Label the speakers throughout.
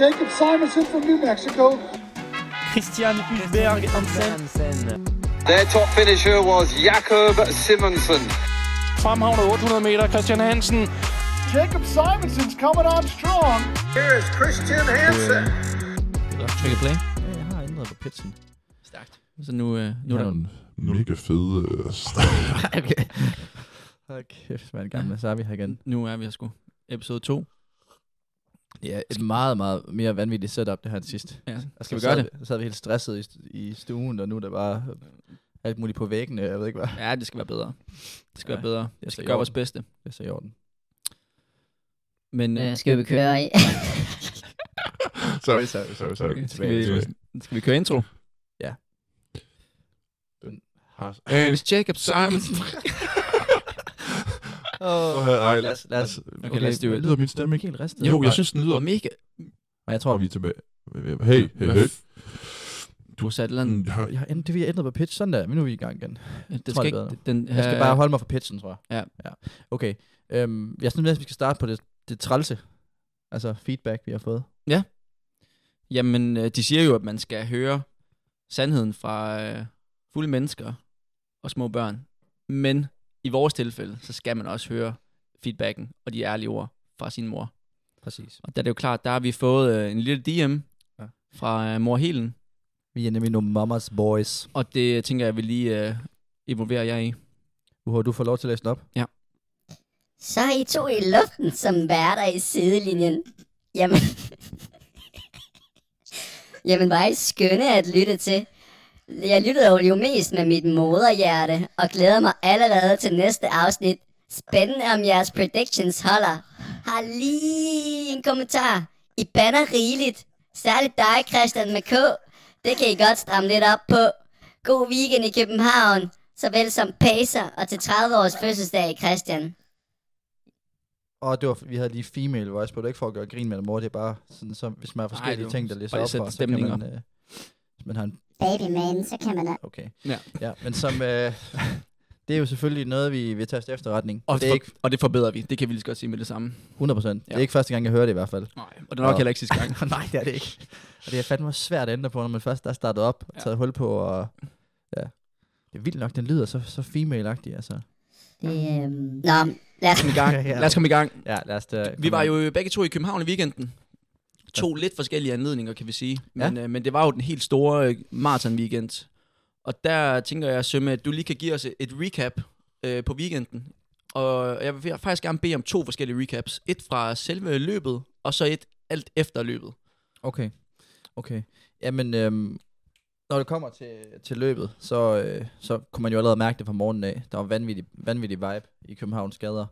Speaker 1: Jacob Simonson from New Mexico.
Speaker 2: Christian Hulberg Hansen.
Speaker 3: Their top finisher was Jakob Simonsen.
Speaker 2: Fremhavnet 800 meter, Christian Hansen.
Speaker 1: Jacob Simonson's coming on strong. Here is Christian Hansen.
Speaker 4: Trykker play.
Speaker 5: Ja, jeg har ændret på pitchen.
Speaker 4: Stærkt.
Speaker 5: Så nu, øh, nu
Speaker 4: Nu
Speaker 5: er
Speaker 4: er
Speaker 5: der...
Speaker 4: den.
Speaker 6: Mega fede. øh,
Speaker 4: Okay.
Speaker 5: Hold kæft, man. Gamle Sabi her igen.
Speaker 4: Nu er vi her sgu. Episode 2.
Speaker 5: Det er et meget, meget mere vanvittigt setup, det her til sidst.
Speaker 4: Ja,
Speaker 5: Så sad vi- Så sad vi helt stresset i, st- i stuen, og nu er der bare øh, alt muligt på væggene, jeg ved ikke hvad.
Speaker 4: Ja, det skal være bedre. Det skal
Speaker 5: Ja,
Speaker 4: være bedre.
Speaker 5: er
Speaker 4: Vi skal
Speaker 5: så i
Speaker 4: gøre vores
Speaker 5: orden.
Speaker 4: bedste.
Speaker 5: Det er så i orden.
Speaker 4: Men øh,
Speaker 7: Øh, skal vi køre i?
Speaker 6: Sorry,
Speaker 5: sorry, sorry,
Speaker 4: skal, vi,
Speaker 6: Tilbage.
Speaker 5: øh,
Speaker 4: skal vi køre intro?
Speaker 6: And
Speaker 4: Hvis Jacob Simonsen...
Speaker 6: så
Speaker 5: Oh.
Speaker 6: her, ej,
Speaker 5: Lad os, lad os.
Speaker 4: Okay, lad os do it.
Speaker 6: Altså, lyder min stemme ikke?
Speaker 5: Helt
Speaker 6: Jo,
Speaker 5: ristet.
Speaker 6: jeg
Speaker 5: Nej.
Speaker 6: synes, den lyder.
Speaker 4: Og mega...
Speaker 5: Og jeg
Speaker 6: Så
Speaker 5: tror,
Speaker 6: er
Speaker 5: vi...
Speaker 6: vi tilbage. Hey, hey, hey.
Speaker 4: Du har sat et eller andet...
Speaker 6: Mm, Jeg har
Speaker 5: Jeg har ændret, det, vi har ændret på pitch, sådan der, men nu er vi i gang igen.
Speaker 4: Det
Speaker 5: tror,
Speaker 4: skal
Speaker 5: det er
Speaker 4: ikke... Den,
Speaker 5: Jeg skal
Speaker 4: øh,
Speaker 5: bare holde mig for pitchen, tror jeg.
Speaker 4: Ja.
Speaker 5: ja. Okay. Øhm, jeg synes næsten, vi skal starte på det, det trælse. Altså feedback, vi har fået.
Speaker 4: Jamen, øh, de siger jo, at man skal høre sandheden fra øh, fulde mennesker og små børn. Men i vores tilfælde, så skal man også høre feedbacken og de ærlige ord fra sin mor.
Speaker 5: Præcis.
Speaker 4: Og der er det jo klart, der har vi fået øh, en lille DM
Speaker 5: Ja.
Speaker 4: fra øh, mor Helen.
Speaker 5: Vi er nemlig nogle mamas boys.
Speaker 4: Og det tænker jeg, vil lige øh, involvere jer i.
Speaker 5: Uhur, du får lov til at læse den op.
Speaker 7: Så er I to i luften som værter i sidelinjen. Jamen... Jamen, var I skønne at lytte til. Jeg lyttede jo mest med mit moderhjerte, og glæder mig allerede til næste afsnit. Spændende om jeres predictions holder. Har lige en kommentar. I banner rigeligt. Særligt dig, Christian med K. Det kan I godt stramme lidt op på. God weekend i København, såvel som Pacer og til 30 års fødselsdag, Christian.
Speaker 5: Og det var, vi havde lige female voice på, det er ikke for at gøre grin med det, mor, det er bare sådan, så, hvis man har forskellige
Speaker 4: det er jo
Speaker 5: ting, der
Speaker 4: bare
Speaker 5: læser
Speaker 4: lige
Speaker 5: op
Speaker 4: sætte
Speaker 5: for, så kan
Speaker 4: stemningen
Speaker 5: man, øh, hvis man har en,
Speaker 8: baby man, så kan man
Speaker 5: okay.
Speaker 4: Ja.
Speaker 5: ja men som, øh, det er jo selvfølgelig noget, vi vil tage til efterretning.
Speaker 4: Og
Speaker 5: det er ikke
Speaker 4: og det forbedrer vi. Det kan vi lige så godt sige med det samme.
Speaker 5: 100 Det er
Speaker 4: Ja.
Speaker 5: ikke første gang, jeg hører det i hvert fald.
Speaker 4: Nej. Og det er nok
Speaker 5: Og-
Speaker 4: heller ikke sidste gang.
Speaker 5: Nej, det er det ikke. Og det er fandme svært at ændre på, når man først er startet op og
Speaker 4: Ja.
Speaker 5: taget hul på, og ja. Det er vildt nok, den lyder så, så female-agtig, altså.
Speaker 7: Det, øhm... Nå, lad os...
Speaker 4: Kom i gang.
Speaker 5: Ja.
Speaker 4: Lad os komme i gang.
Speaker 5: Ja, lad os øh, da,
Speaker 4: Vi var jo begge to i København i weekenden. To lidt forskellige anledninger, kan vi sige. Men, øh, men det var jo den helt store øh, maraton-weekend. Og der tænker jeg, Sømme, at du lige kan give os et recap øh, på weekenden. Og jeg vil faktisk gerne bede om to forskellige recaps. Et fra selve løbet, og så et alt efter løbet.
Speaker 5: Okay. Okay. Jamen, øhm, når det kommer til, til løbet, så, øh, så kunne man jo allerede mærke det fra morgenen af. Der var vanvittig, vanvittig vibe i Københavns gader.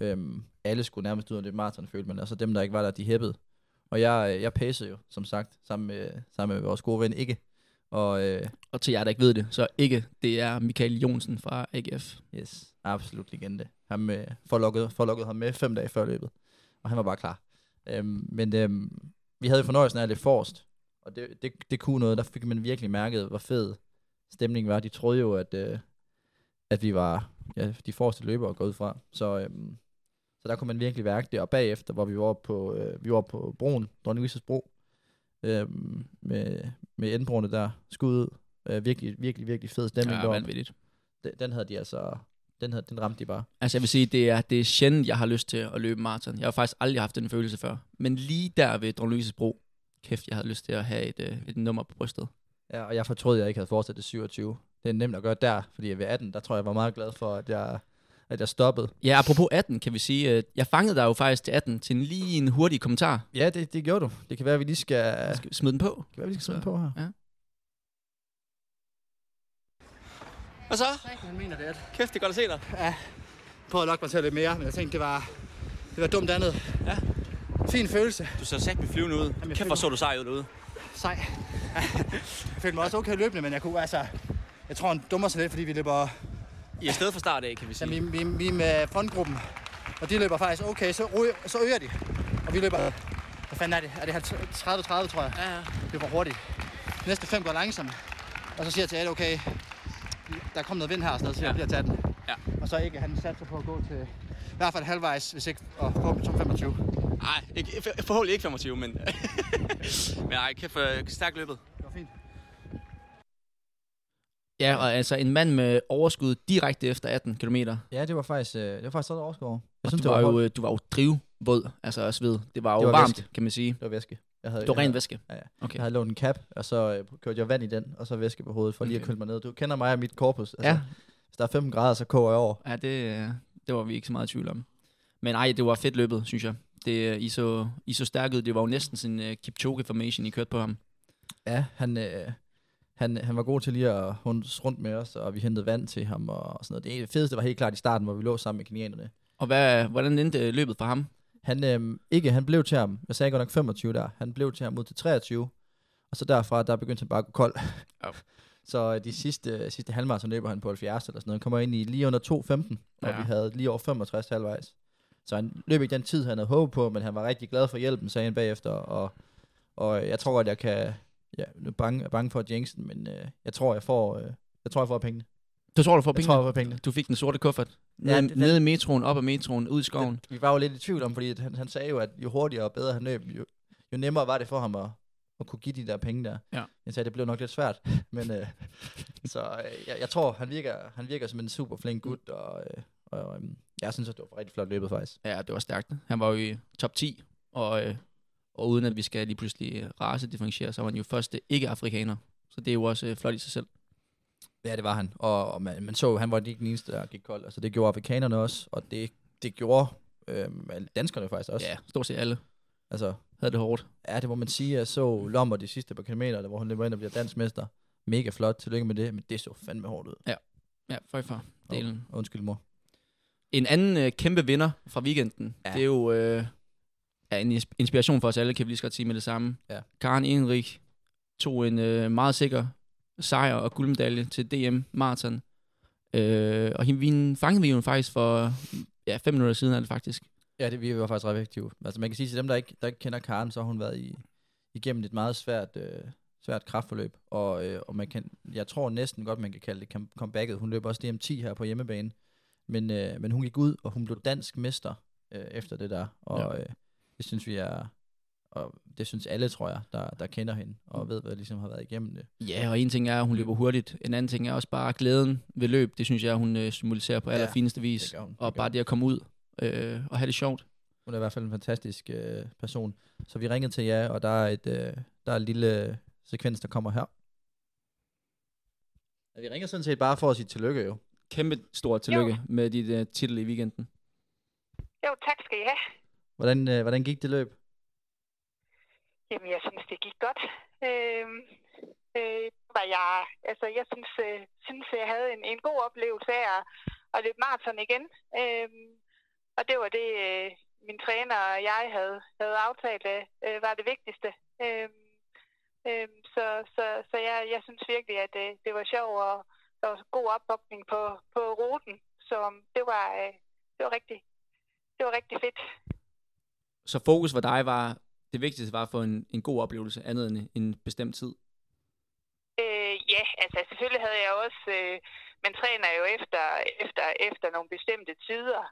Speaker 5: Øhm, alle skulle nærmest ud af det maraton, følte man. Altså dem, der ikke var der, de hæppede. Og jeg, øh, jeg pacede jo, som sagt, sammen med, sammen med vores gode ven Ikke. Og øh,
Speaker 4: Og til jer, der ikke ved det, så ikke, det er Michael Jonsen fra AGF.
Speaker 5: yes, absolut legende. Han øh, forlokkede, forlokkede ham med fem dage før løbet. Og han var bare klar. Øhm, men øhm, vi havde jo fornøjelsen af at løbe forrest. Og det, det, det kunne noget. Der fik man virkelig mærket, hvor fed stemningen var. De troede jo, at, øh, at vi var ja, de forreste løbere at gå ud fra. Så, øhm, så der kunne man virkelig mærke det. Og bagefter, hvor vi var oppe på, øh, vi var oppe på broen, Dronning Louise's bro, øhm, med, med endbrugerne der, skud ud. Øh, virkelig, virkelig, virkelig fed stemning
Speaker 4: Ja,
Speaker 5: deroppe.
Speaker 4: vanvittigt.
Speaker 5: den, den havde de altså, den, havde, den ramte de bare.
Speaker 4: Altså jeg vil sige, det er, det er sjældent, jeg har lyst til at løbe maraton. Jeg har faktisk aldrig haft den følelse før. Men lige der ved Dronning Louise's Bro, kæft, jeg havde lyst til at have et, øh, et nummer på brystet.
Speaker 5: Ja, og jeg fortrød, at jeg ikke havde fortsat det 27. Det er nemt at gøre der, fordi ved 18, der tror jeg, jeg var meget glad for, at jeg, at jeg stoppede.
Speaker 4: Ja, apropos 18, kan vi sige, at jeg fangede dig jo faktisk til 18 til en, lige en hurtig kommentar.
Speaker 5: Ja, det, det gjorde du. Det kan være, at vi lige skal,
Speaker 4: Skal vi smide den på?
Speaker 5: kan være, vi skal
Speaker 4: smide den
Speaker 5: på her.
Speaker 9: Hvad så? Han mener det. Kæft, det er godt at se dig. Ja. Prøvede at lokke mig til at løbe mere, men jeg tænkte, det var, det var dumt andet. Ja. Fin følelse.
Speaker 10: Du så sat med flyvende ud.
Speaker 9: jeg
Speaker 10: Kæft, hvor så du sej ud derude.
Speaker 9: Sej. jeg følte mig også okay løbende, men jeg kunne altså... Jeg tror, han dummer sig lidt, fordi vi løber...
Speaker 10: I er sted fra start af, kan vi
Speaker 9: Ja, vi,
Speaker 10: sige.
Speaker 9: vi, vi er med frontgruppen, og de løber faktisk okay, så, ryger, så øger de. Og vi løber... Hvad fanden er det? Er det 30-30, tror jeg?
Speaker 10: Ja, ja.
Speaker 9: Det var hurtigt. De næste fem går langsomt. Og så siger jeg til Ed, okay, der kom noget vind her, og sådan noget, så jeg
Speaker 10: Ja.
Speaker 9: bliver til den.
Speaker 10: Ja.
Speaker 9: Og så ikke, han satte sig på at gå til I hvert fald halvvejs, hvis ikke, og forhåbentlig som 25.
Speaker 10: Nej, ikke, for- forhåbentlig ikke 25, men... men nej, kæft, øh, stærkt løbet. Det
Speaker 9: var fint.
Speaker 4: Ja, og altså en mand med overskud direkte efter 18 km.
Speaker 5: Ja, det var faktisk, øh, det var faktisk sådan overskår. Jeg
Speaker 4: Og
Speaker 5: synes,
Speaker 4: du
Speaker 5: det
Speaker 4: var,
Speaker 5: var,
Speaker 4: jo,
Speaker 5: hårdt.
Speaker 4: øh, du var jo drivvåd, altså også ved. Det var jo
Speaker 5: Det var
Speaker 4: varmt,
Speaker 5: væske.
Speaker 4: kan man sige.
Speaker 5: det var væske. Jeg havde,
Speaker 4: Det var
Speaker 5: jeg
Speaker 4: ren
Speaker 5: havde-
Speaker 4: væske.
Speaker 5: Ja, ja.
Speaker 4: Okay.
Speaker 5: Okay. Jeg havde lånt en cap, og så øh, kørte jeg vand i den, og så væske på hovedet, for lige at
Speaker 4: Okay.
Speaker 5: køle mig ned. Du kender mig og mit korpus. Altså,
Speaker 4: Ja.
Speaker 5: Hvis der er 15 grader, så koger jeg over.
Speaker 4: Ja, det, øh, det var vi ikke så meget i tvivl om. Men nej, det var fedt løbet, synes jeg. Det, øh, I, så, I så stærk ud. Det var jo næsten sådan en uh, Kipchoge-formation, I kørte på ham.
Speaker 5: Ja, han, øh, han, han var god til lige at hundes rundt med os, og vi hentede vand til ham og sådan noget. Det fedeste var helt klart i starten, hvor vi lå sammen med kenianerne.
Speaker 4: Og hvad, hvordan endte øh, løbet for ham?
Speaker 5: Han, øh, ikke, han blev til ham, jeg sagde godt nok 25 der, han blev til ham ud til 23, og så derfra, der begyndte han bare at gå kold.
Speaker 4: Ja.
Speaker 5: så øh, de sidste, sidste halvmarathon løber han på 70 eller sådan noget. Han kommer ind i lige under 2.15, og
Speaker 4: Ja.
Speaker 5: vi havde lige over 65 halvvejs. Så han løb ikke den tid, han havde håbet på, men han var rigtig glad for hjælpen, sagde han bagefter. Og, og øh, jeg tror, at jeg kan... Ja, nu er jeg bange, er bange for Jensen, men øh, jeg tror, jeg får... Øh, jeg tror, jeg får pengene.
Speaker 4: Du tror, du får
Speaker 5: Jeg
Speaker 4: penge?
Speaker 5: tror, jeg får pengene.
Speaker 4: Du fik den sorte kuffert. Nede,
Speaker 5: Ja,
Speaker 4: ja,
Speaker 5: det- den-
Speaker 4: nede i metroen, op ad metroen, ud i skoven.
Speaker 5: Det, vi var jo lidt i tvivl om, fordi at han, han sagde jo, at jo hurtigere og bedre han løb, jo, jo nemmere var det for ham at, at kunne give de der penge der.
Speaker 4: Ja.
Speaker 5: Jeg sagde, det blev nok lidt svært, men øh, så øh, jeg, jeg tror, han virker, han virker som en super flink gut, og, øh, og øh, jeg synes, at det var rigtig flot løbet faktisk.
Speaker 4: Ja, det var stærkt. Han var jo i top 10, og, øh, og uden at vi skal lige pludselig øh, racedifferentiere, så var han jo første ikke-afrikaner. Så det er jo også øh, flot i sig selv.
Speaker 5: Ja, det var han, og, og man, man så, han var ikke den eneste, der gik kold, altså det gjorde afrikanerne også, og det, det gjorde øh, danskerne faktisk også.
Speaker 4: Ja, stort set alle
Speaker 5: Altså,
Speaker 4: havde det hårdt.
Speaker 5: Ja, det må man sige. Jeg så Lommer de sidste par kilometer, hvor han løber ind og bliver dansk mester. Mega flot. Tillykke med det. Men det så fandme hårdt ud.
Speaker 4: Ja, for for delen.
Speaker 5: Og Undskyld, mor.
Speaker 4: En anden øh, kæmpe vinder fra weekenden, ja.
Speaker 5: Ja.
Speaker 4: det er jo øh, er en is- inspiration for os alle, kan vi lige så godt sige med det samme.
Speaker 5: Ja.
Speaker 4: Karen Enrik tog en øh, meget sikker sejr og guldmedalje til DM Marathon. Øh, og hende vi fangede vi jo faktisk for ja, fem minutter siden, er det faktisk.
Speaker 5: Ja, det vi var faktisk ret effektivt. Altså, man kan sige til dem, der ikke, der ikke kender Karen, så har hun været i, igennem et meget svært, øh, svært kraftforløb. Og, øh, og man kan, jeg tror næsten godt, man kan kalde det come- comebacket. Hun løb også DM10 her på hjemmebane. Men, øh, men hun gik ud, og hun blev dansk mester øh, efter det der. Og
Speaker 4: Ja.
Speaker 5: ja. øh, det synes vi er... Og det synes alle, tror jeg, der, der kender hende, og ved, hvad ligesom har været igennem det.
Speaker 4: Ja, og en ting er, at hun løber hurtigt. En anden ting er også bare glæden ved løb. Det synes jeg, hun øh, symboliserer på
Speaker 5: Ja,
Speaker 4: allerfineste vis.
Speaker 5: Det gør hun. Det gør
Speaker 4: og bare det at komme ud øh, og have det sjovt.
Speaker 5: Hun er i hvert fald en fantastisk øh, person. Så vi ringede til jer, og der er, et, øh, der er en lille sekvens, der kommer her. Ja, vi ringer sådan set bare for at sige tillykke jo.
Speaker 4: Kæmpe stort tillykke jo. med dit øh, titel i weekenden.
Speaker 8: Jo, tak skal I have.
Speaker 5: Hvordan, øh, hvordan gik det løb?
Speaker 8: Jamen, jeg synes, det gik godt. Øh, øh, var jeg, altså, jeg synes, øh, synes jeg havde en, en god oplevelse af at, at løbe maraton igen. Øh, og det var det, øh, min træner og jeg havde, havde aftalt, øh, var det vigtigste. Øh, øh, så så, så jeg, jeg synes virkelig, at det, det var sjovt, og der var god opbakning på, på ruten. Så det var, øh, det var rigtig, det var rigtig fedt.
Speaker 4: Så fokus for dig var, det vigtigste var at få en, en god oplevelse, andet end en bestemt tid.
Speaker 8: Øh, ja, altså selvfølgelig havde jeg også, øh, man træner jo efter, efter, efter nogle bestemte tider,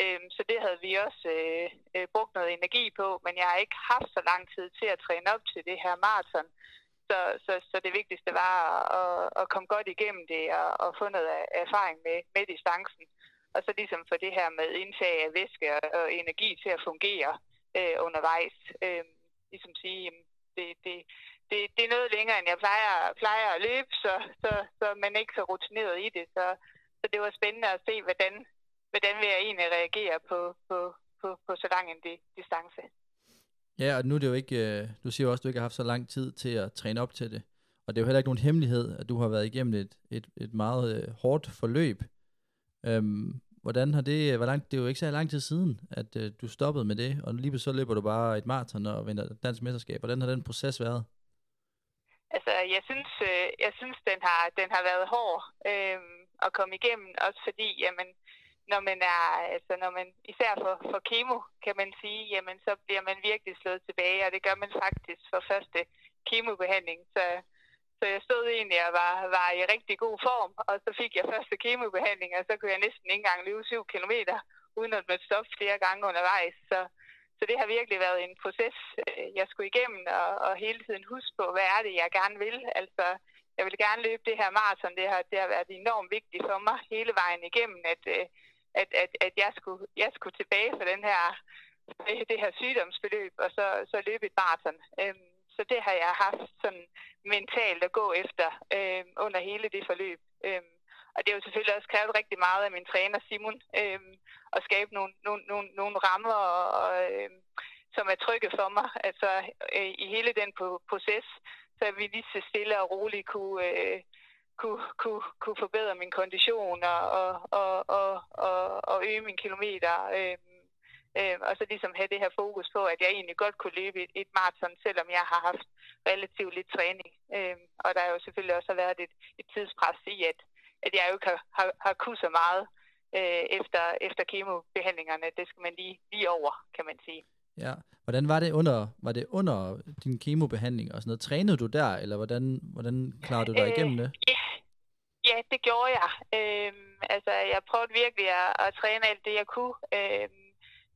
Speaker 8: øh, så det havde vi også øh, øh, brugt noget energi på, men jeg har ikke haft så lang tid til at træne op til det her maraton, så, så, så det vigtigste var at, at- at komme godt igennem det og, og få noget er- erfaring med, med distancen, og så ligesom få det her med indtag af væske og, og energi til at fungere øh, undervejs. Øh, ligesom sige, jamen, det, det, det, det er noget længere, end jeg plejer, plejer at løbe, så, så, så man er ikke så rutineret i det. Så, så det var spændende at se, hvordan, hvordan vil jeg egentlig reagere på, på, på, på så lang en di- distance.
Speaker 5: Ja, og nu er det jo ikke, øh, du siger jo også, at du ikke har haft så lang tid til at træne op til det. Og det er jo heller ikke nogen hemmelighed, at du har været igennem et, et, et meget øh, hårdt forløb. Øhm, hvordan har det, hvor lang, det er jo ikke så lang tid siden, at øh, du stoppede med det, og lige pludselig så løber du bare et maraton og vinder dansk mesterskab. Hvordan har den proces været?
Speaker 8: Altså, jeg synes, øh, jeg synes den, har, den har været hård øh, at komme igennem, også fordi, jamen, når man er, altså når man, især for, for kemo, kan man sige, jamen, så bliver man virkelig slået tilbage, og det gør man faktisk for første kemobehandling. Så, så jeg stod egentlig og var, var i rigtig god form, og så fik jeg første kemobehandling, og så kunne jeg næsten ikke engang løbe 7 kilometer, uden at møde stoppe flere gange undervejs. Så, så det har virkelig været en proces, øh, jeg skulle igennem, og, og hele tiden huske på, hvad er det, jeg gerne vil. Altså, jeg vil gerne løbe det her maraton. Det har, det har været enormt vigtigt for mig hele vejen igennem, at, øh, at, at, at jeg, skulle, jeg skulle tilbage fra den her, det- det her sygdomsforløb, og så, så løbe et maraton. Øhm, så det har jeg haft sådan mentalt at gå efter øhm, under hele det forløb. Øhm, og det har jo selvfølgelig også krævet rigtig meget af min træner Simon, øhm, at skabe nogle, nogle, nogle, nogle rammer, og, og, øhm, som er trygge for mig, altså øh, i hele den pro- proces, så vi lige så stille og roligt kunne, øh, kunne, kunne, kunne forbedre min kondition og, og, og, og, og, og øge min kilometer. Øh, øh, og så ligesom have det her fokus på, at jeg egentlig godt kunne løbe et, et maraton, selvom jeg har haft relativt lidt træning. Øh, og der er jo selvfølgelig også har været et, et tidspres i, at, at jeg jo ikke har, har, har kunnet så meget øh, efter, efter kemobehandlingerne. Det skal man lige, lige over, kan man sige.
Speaker 5: Ja. Hvordan var det under, var det under din kemobehandling og sådan noget? Trænede du der, eller hvordan, hvordan klarede du dig igennem det?
Speaker 8: Ja, ja det gjorde jeg. Øhm, altså, jeg prøvede virkelig at, at træne alt det, jeg kunne. Øhm,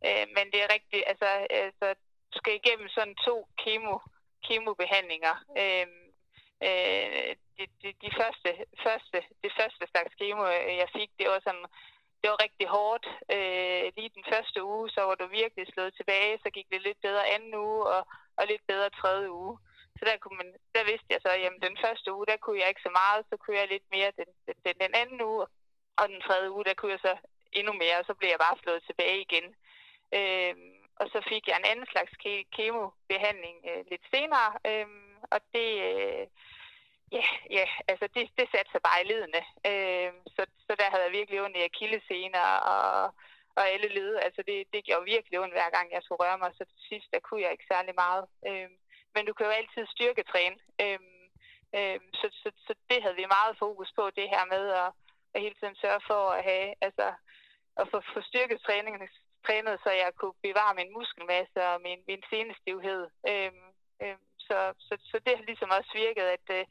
Speaker 8: øh, men det er rigtigt, altså, altså du skal igennem sådan to kemo, kemobehandlinger. Øhm, øh, de, de, de første, første, det første slags kemo, øh, jeg fik, det var sådan det var rigtig hårdt. Øh, lige den første uge, så var du virkelig slået tilbage, så gik det lidt bedre anden uge, og, og lidt bedre tredje uge. Så der, kunne man, der vidste jeg så, at jamen, den første uge, der kunne jeg ikke så meget, så kunne jeg lidt mere den, den, den, den anden uge, og den tredje uge, der kunne jeg så endnu mere, og så blev jeg bare slået tilbage igen. Øhm, og så fik jeg en anden slags ke- kemobehandling øh, lidt senere, øhm, og det, øh, Ja, ja, altså det, det satte sig bare i ledene. Øh, så, så der havde jeg virkelig ondt i akillescener og, og alle led. Altså det, det gjorde virkelig ondt hver gang jeg skulle røre mig, så til sidst der kunne jeg ikke særlig meget. Øh, men du kan jo altid styrketræne. Øh, øh, så, så, så det havde vi meget fokus på, det her med at, at hele tiden sørge for at have, altså at få, få styrketræningen trænet, så jeg kunne bevare min muskelmasse og min, min senestivhed. Øhm, øhm, så, så, så det har ligesom også virket, at, øh,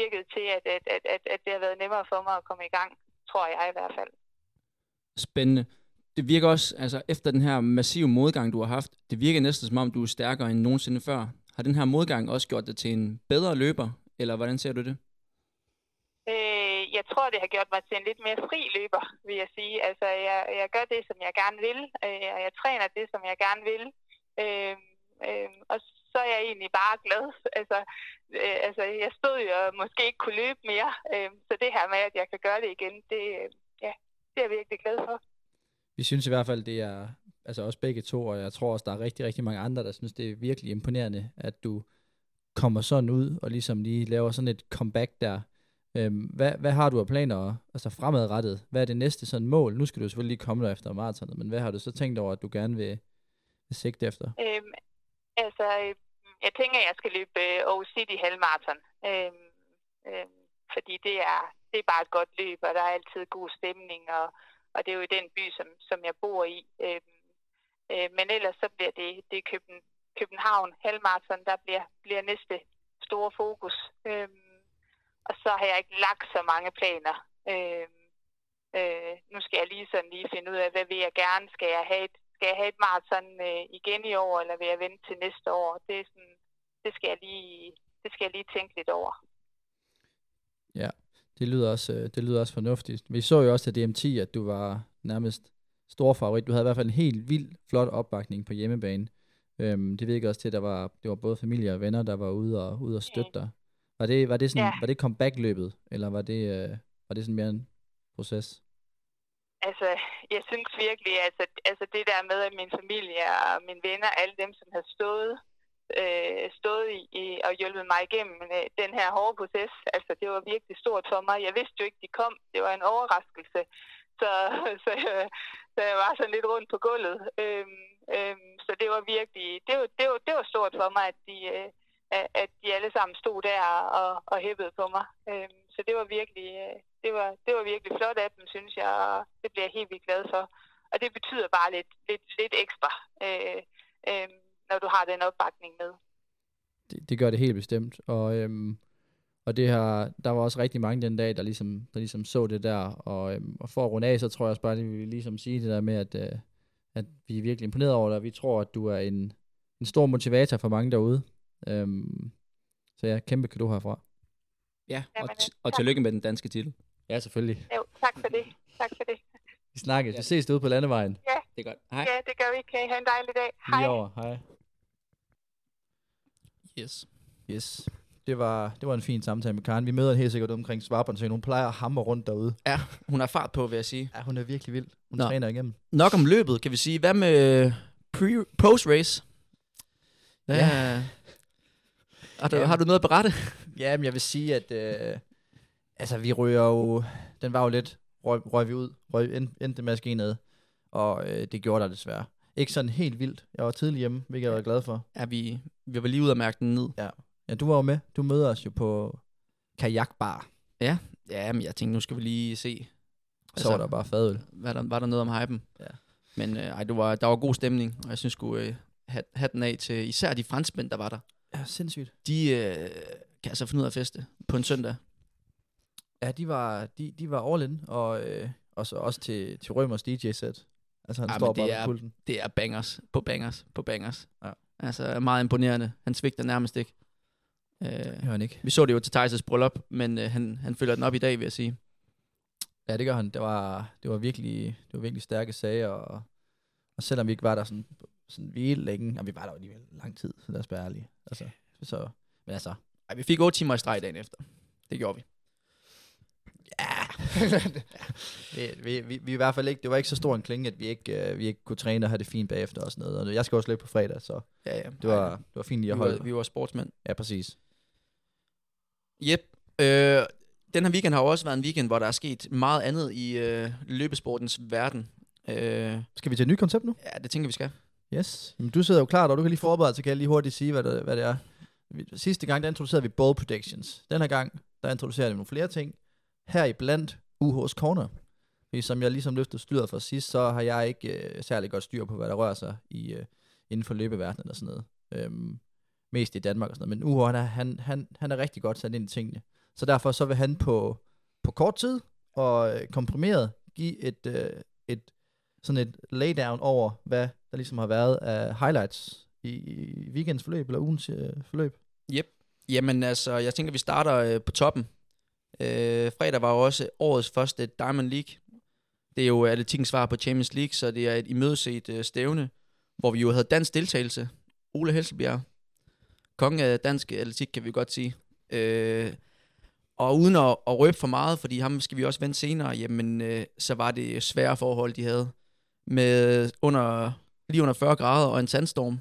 Speaker 8: virket til, at, at, at, at, at det har været nemmere for mig at komme i gang, tror jeg i hvert fald.
Speaker 4: Spændende. Det virker også, altså efter den her massive modgang, du har haft, det virker næsten som om, du er stærkere end nogensinde før. Har den her modgang også gjort dig til en bedre løber, eller hvordan ser du det?
Speaker 8: Øh, jeg tror, det har gjort mig til en lidt mere fri løber, vil jeg sige. Altså, jeg, jeg gør det, som jeg gerne vil, øh, og jeg træner det, som jeg gerne vil. Øh, øh, og så er jeg egentlig bare glad. Altså, øh, altså jeg stod jo og måske ikke kunne løbe mere, øh, så det her med, at jeg kan gøre det igen, det, øh, ja, det er jeg virkelig glad for.
Speaker 5: Vi synes i hvert fald, det er altså også begge to, og jeg tror også, der er rigtig, rigtig mange andre, der synes, det er virkelig imponerende, at du kommer sådan ud og ligesom lige laver sådan et comeback der. Øhm, hvad, hvad har du af planer altså fremadrettet? Hvad er det næste sådan mål? Nu skal du selvfølgelig lige komme der efter maratonet, men hvad har du så tænkt over, at du gerne vil, vil sigte efter?
Speaker 8: Øhm, altså, øh, jeg tænker, at jeg skal løbe øh, Aarhus City halvmarathon. Øhm, øhm, fordi det er, det er bare et godt løb, og der er altid god stemning, og, og det er jo i den by, som, som jeg bor i. Øhm, øh, men ellers så bliver det, det er Køben, København halvmarathon, der bliver, bliver næste store fokus. Øhm, og så har jeg ikke lagt så mange planer. Øhm, øh, nu skal jeg lige sådan lige finde ud af, hvad vil jeg gerne? Skal jeg have et, skal jeg have et maraton øh, igen i år, eller vil jeg vente til næste år? Det, er sådan, det, skal jeg lige, det skal jeg lige tænke lidt over.
Speaker 5: Ja, det lyder også, øh, det lyder også fornuftigt. Vi så jo også til DM10, at du var nærmest stor favorit. Du havde i hvert fald en helt vild flot opbakning på hjemmebane. Øhm, det virkede også til, at der var, det var både familie og venner, der var ude og, ude og støtte dig. Var det, var det, sådan,
Speaker 8: Ja.
Speaker 5: var det comeback-løbet, eller var det, øh, var det sådan mere en proces?
Speaker 8: Altså, jeg synes virkelig, altså, altså det der med, at min familie og mine venner, alle dem, som har stået, øh, stået i, i og hjulpet mig igennem øh, den her hårde proces, altså det var virkelig stort for mig. Jeg vidste jo ikke, de kom. Det var en overraskelse. Så, så, øh, så jeg var sådan lidt rundt på gulvet. Øhm, øhm, så det var virkelig, det var, det, var, det var stort for mig, at de, øh, at- at de alle sammen stod der og, og hæppede på mig. Øhm, så det var virkelig, øh, det var, det var virkelig flot af dem, synes jeg, og det bliver jeg helt vildt glad for. Og det betyder bare lidt, lidt, lidt ekstra, øh, øh, når du har den opbakning med.
Speaker 5: Det, det gør det helt bestemt. Og, øhm, Og det her, der var også rigtig mange den dag, der ligesom, der ligesom så det der. Og, øhm, og for at runde af, så tror jeg også bare, at vi vil ligesom sige det der med, at, øh, at vi er virkelig imponeret over dig. Vi tror, at du er en, en stor motivator for mange derude. Øhm, så ja, kæmpe kado herfra.
Speaker 4: Ja, og, t- og tillykke med den danske titel.
Speaker 5: Ja, selvfølgelig.
Speaker 8: Jo, tak for det. Tak for det.
Speaker 5: Vi snakkes. Ja. Vi ses derude på landevejen.
Speaker 8: Ja.
Speaker 4: Det er godt.
Speaker 8: Ja, det gør vi. Kan I have en dejlig dag.
Speaker 5: Lige over. Hej.
Speaker 4: Yes.
Speaker 5: Yes. Det var, det var en fin samtale med Karen. Vi møder hende helt sikkert ude omkring Svarbåndsøen. Hun plejer at hamre rundt derude.
Speaker 4: Ja, hun har fart på, vil jeg sige.
Speaker 5: Ja, hun er virkelig vild. Hun
Speaker 4: Nå.
Speaker 5: træner igennem.
Speaker 4: Nok om løbet, kan vi sige. Hvad med øh, pre- post-race? Ja.
Speaker 5: Ja.
Speaker 4: ja. Har, du, har du noget at berette?
Speaker 5: Jamen, jeg vil sige, at øh, altså, vi ryger jo... Den var jo lidt... Røg, røg vi ud. Røg, end, endte med at ske noget. Og øh, det gjorde der desværre. Ikke sådan helt vildt. Jeg var tidlig hjemme, hvilket jeg var glad for.
Speaker 4: Ja, vi, vi var lige ude og mærke den ned.
Speaker 5: Ja. Ja, du var jo med. Du møder os jo på kajakbar.
Speaker 4: Ja, ja men jeg tænkte, nu skal vi lige se. Altså,
Speaker 5: Så var der bare fadøl.
Speaker 4: Var der, var der noget om hypen?
Speaker 5: Ja.
Speaker 4: Men øh, ej, det var, der var god stemning, og jeg synes sgu, øh, hat- hatten af til især de franskmænd, der var der.
Speaker 5: Ja, sindssygt.
Speaker 4: De øh, kan altså finde ud af at feste på en søndag.
Speaker 5: Ja, de var, de, de var all in, og, øh, og så også til, til Rømers DJ-sæt. Altså, han
Speaker 4: Ej,
Speaker 5: Ej,
Speaker 4: men
Speaker 5: står
Speaker 4: det
Speaker 5: bare
Speaker 4: er-
Speaker 5: på pulten.
Speaker 4: Det er bangers på bangers på bangers.
Speaker 5: Ja.
Speaker 4: Altså meget imponerende. Han svigter nærmest ikke. Øh,
Speaker 5: Hører han ikke?
Speaker 4: vi så det jo til Thijs' bryllup, men øh, han, han følger den op i dag, vil jeg sige.
Speaker 5: Ja, det gør han. Det var, det var, virkelig, det var virkelig stærke sager, og, og selvom vi ikke var der sådan, sådan vildt længe, og vi var der jo alligevel lang tid, så lad os være ærlige. Altså, så, men altså,
Speaker 4: Ej, vi fik 8 timer i streg dagen efter. Det gjorde vi.
Speaker 5: vi, vi, vi, vi, i hvert fald ikke, det var ikke så stor en klinge, at vi ikke, øh, vi ikke kunne træne og have det fint bagefter og sådan noget. Og jeg skal også løbe på fredag, så
Speaker 4: Ja, ja.
Speaker 5: det var, det var fint lige
Speaker 4: vi,
Speaker 5: at
Speaker 4: var,
Speaker 5: holde.
Speaker 4: vi var sportsmænd.
Speaker 5: Ja, præcis.
Speaker 4: Jep. Øh, den her weekend har jo også været en weekend, hvor der er sket meget andet i øh, løbesportens verden. Øh, ja,
Speaker 5: Skal vi til et nyt koncept nu?
Speaker 4: det tænker vi skal.
Speaker 5: Yes. Jamen, du sidder jo klar, og du kan lige forberede, så kan jeg lige hurtigt sige, hvad det, hvad det er. Vi- Sidste gang, der introducerede vi bold predictions. Den her gang, der introducerer vi nogle flere ting. Her i blandt UH's Corner. Fordi som jeg ligesom løftede styret for sidst, så har jeg ikke øh, særlig godt styr på, hvad der rører sig i, øh, inden for løbeverdenen og sådan noget. Øhm, mest i Danmark og sådan noget. Men UH, han er, han, han, han er rigtig godt sat ind i tingene. Så derfor så vil han på, på kort tid og øh, komprimeret give et, øh, et sådan et laydown over, hvad der ligesom har været af highlights i, i weekendens forløb, eller ugens øh, forløb.
Speaker 4: Jamen altså, jeg tænker, vi starter øh, på toppen. Øh, fredag var jo også årets første Diamond League. Det er jo atletikkens svar på Champions League, så det er et imødeset øh, stævne, hvor vi jo havde dansk deltagelse. Ole Helsebjerg, kongen af dansk atletik, kan vi godt sige. Øh, og uden at, at røbe for meget, fordi ham skal vi også vende senere, jamen øh, så var det svære forhold, de havde. Med under, lige under 40 grader og en sandstorm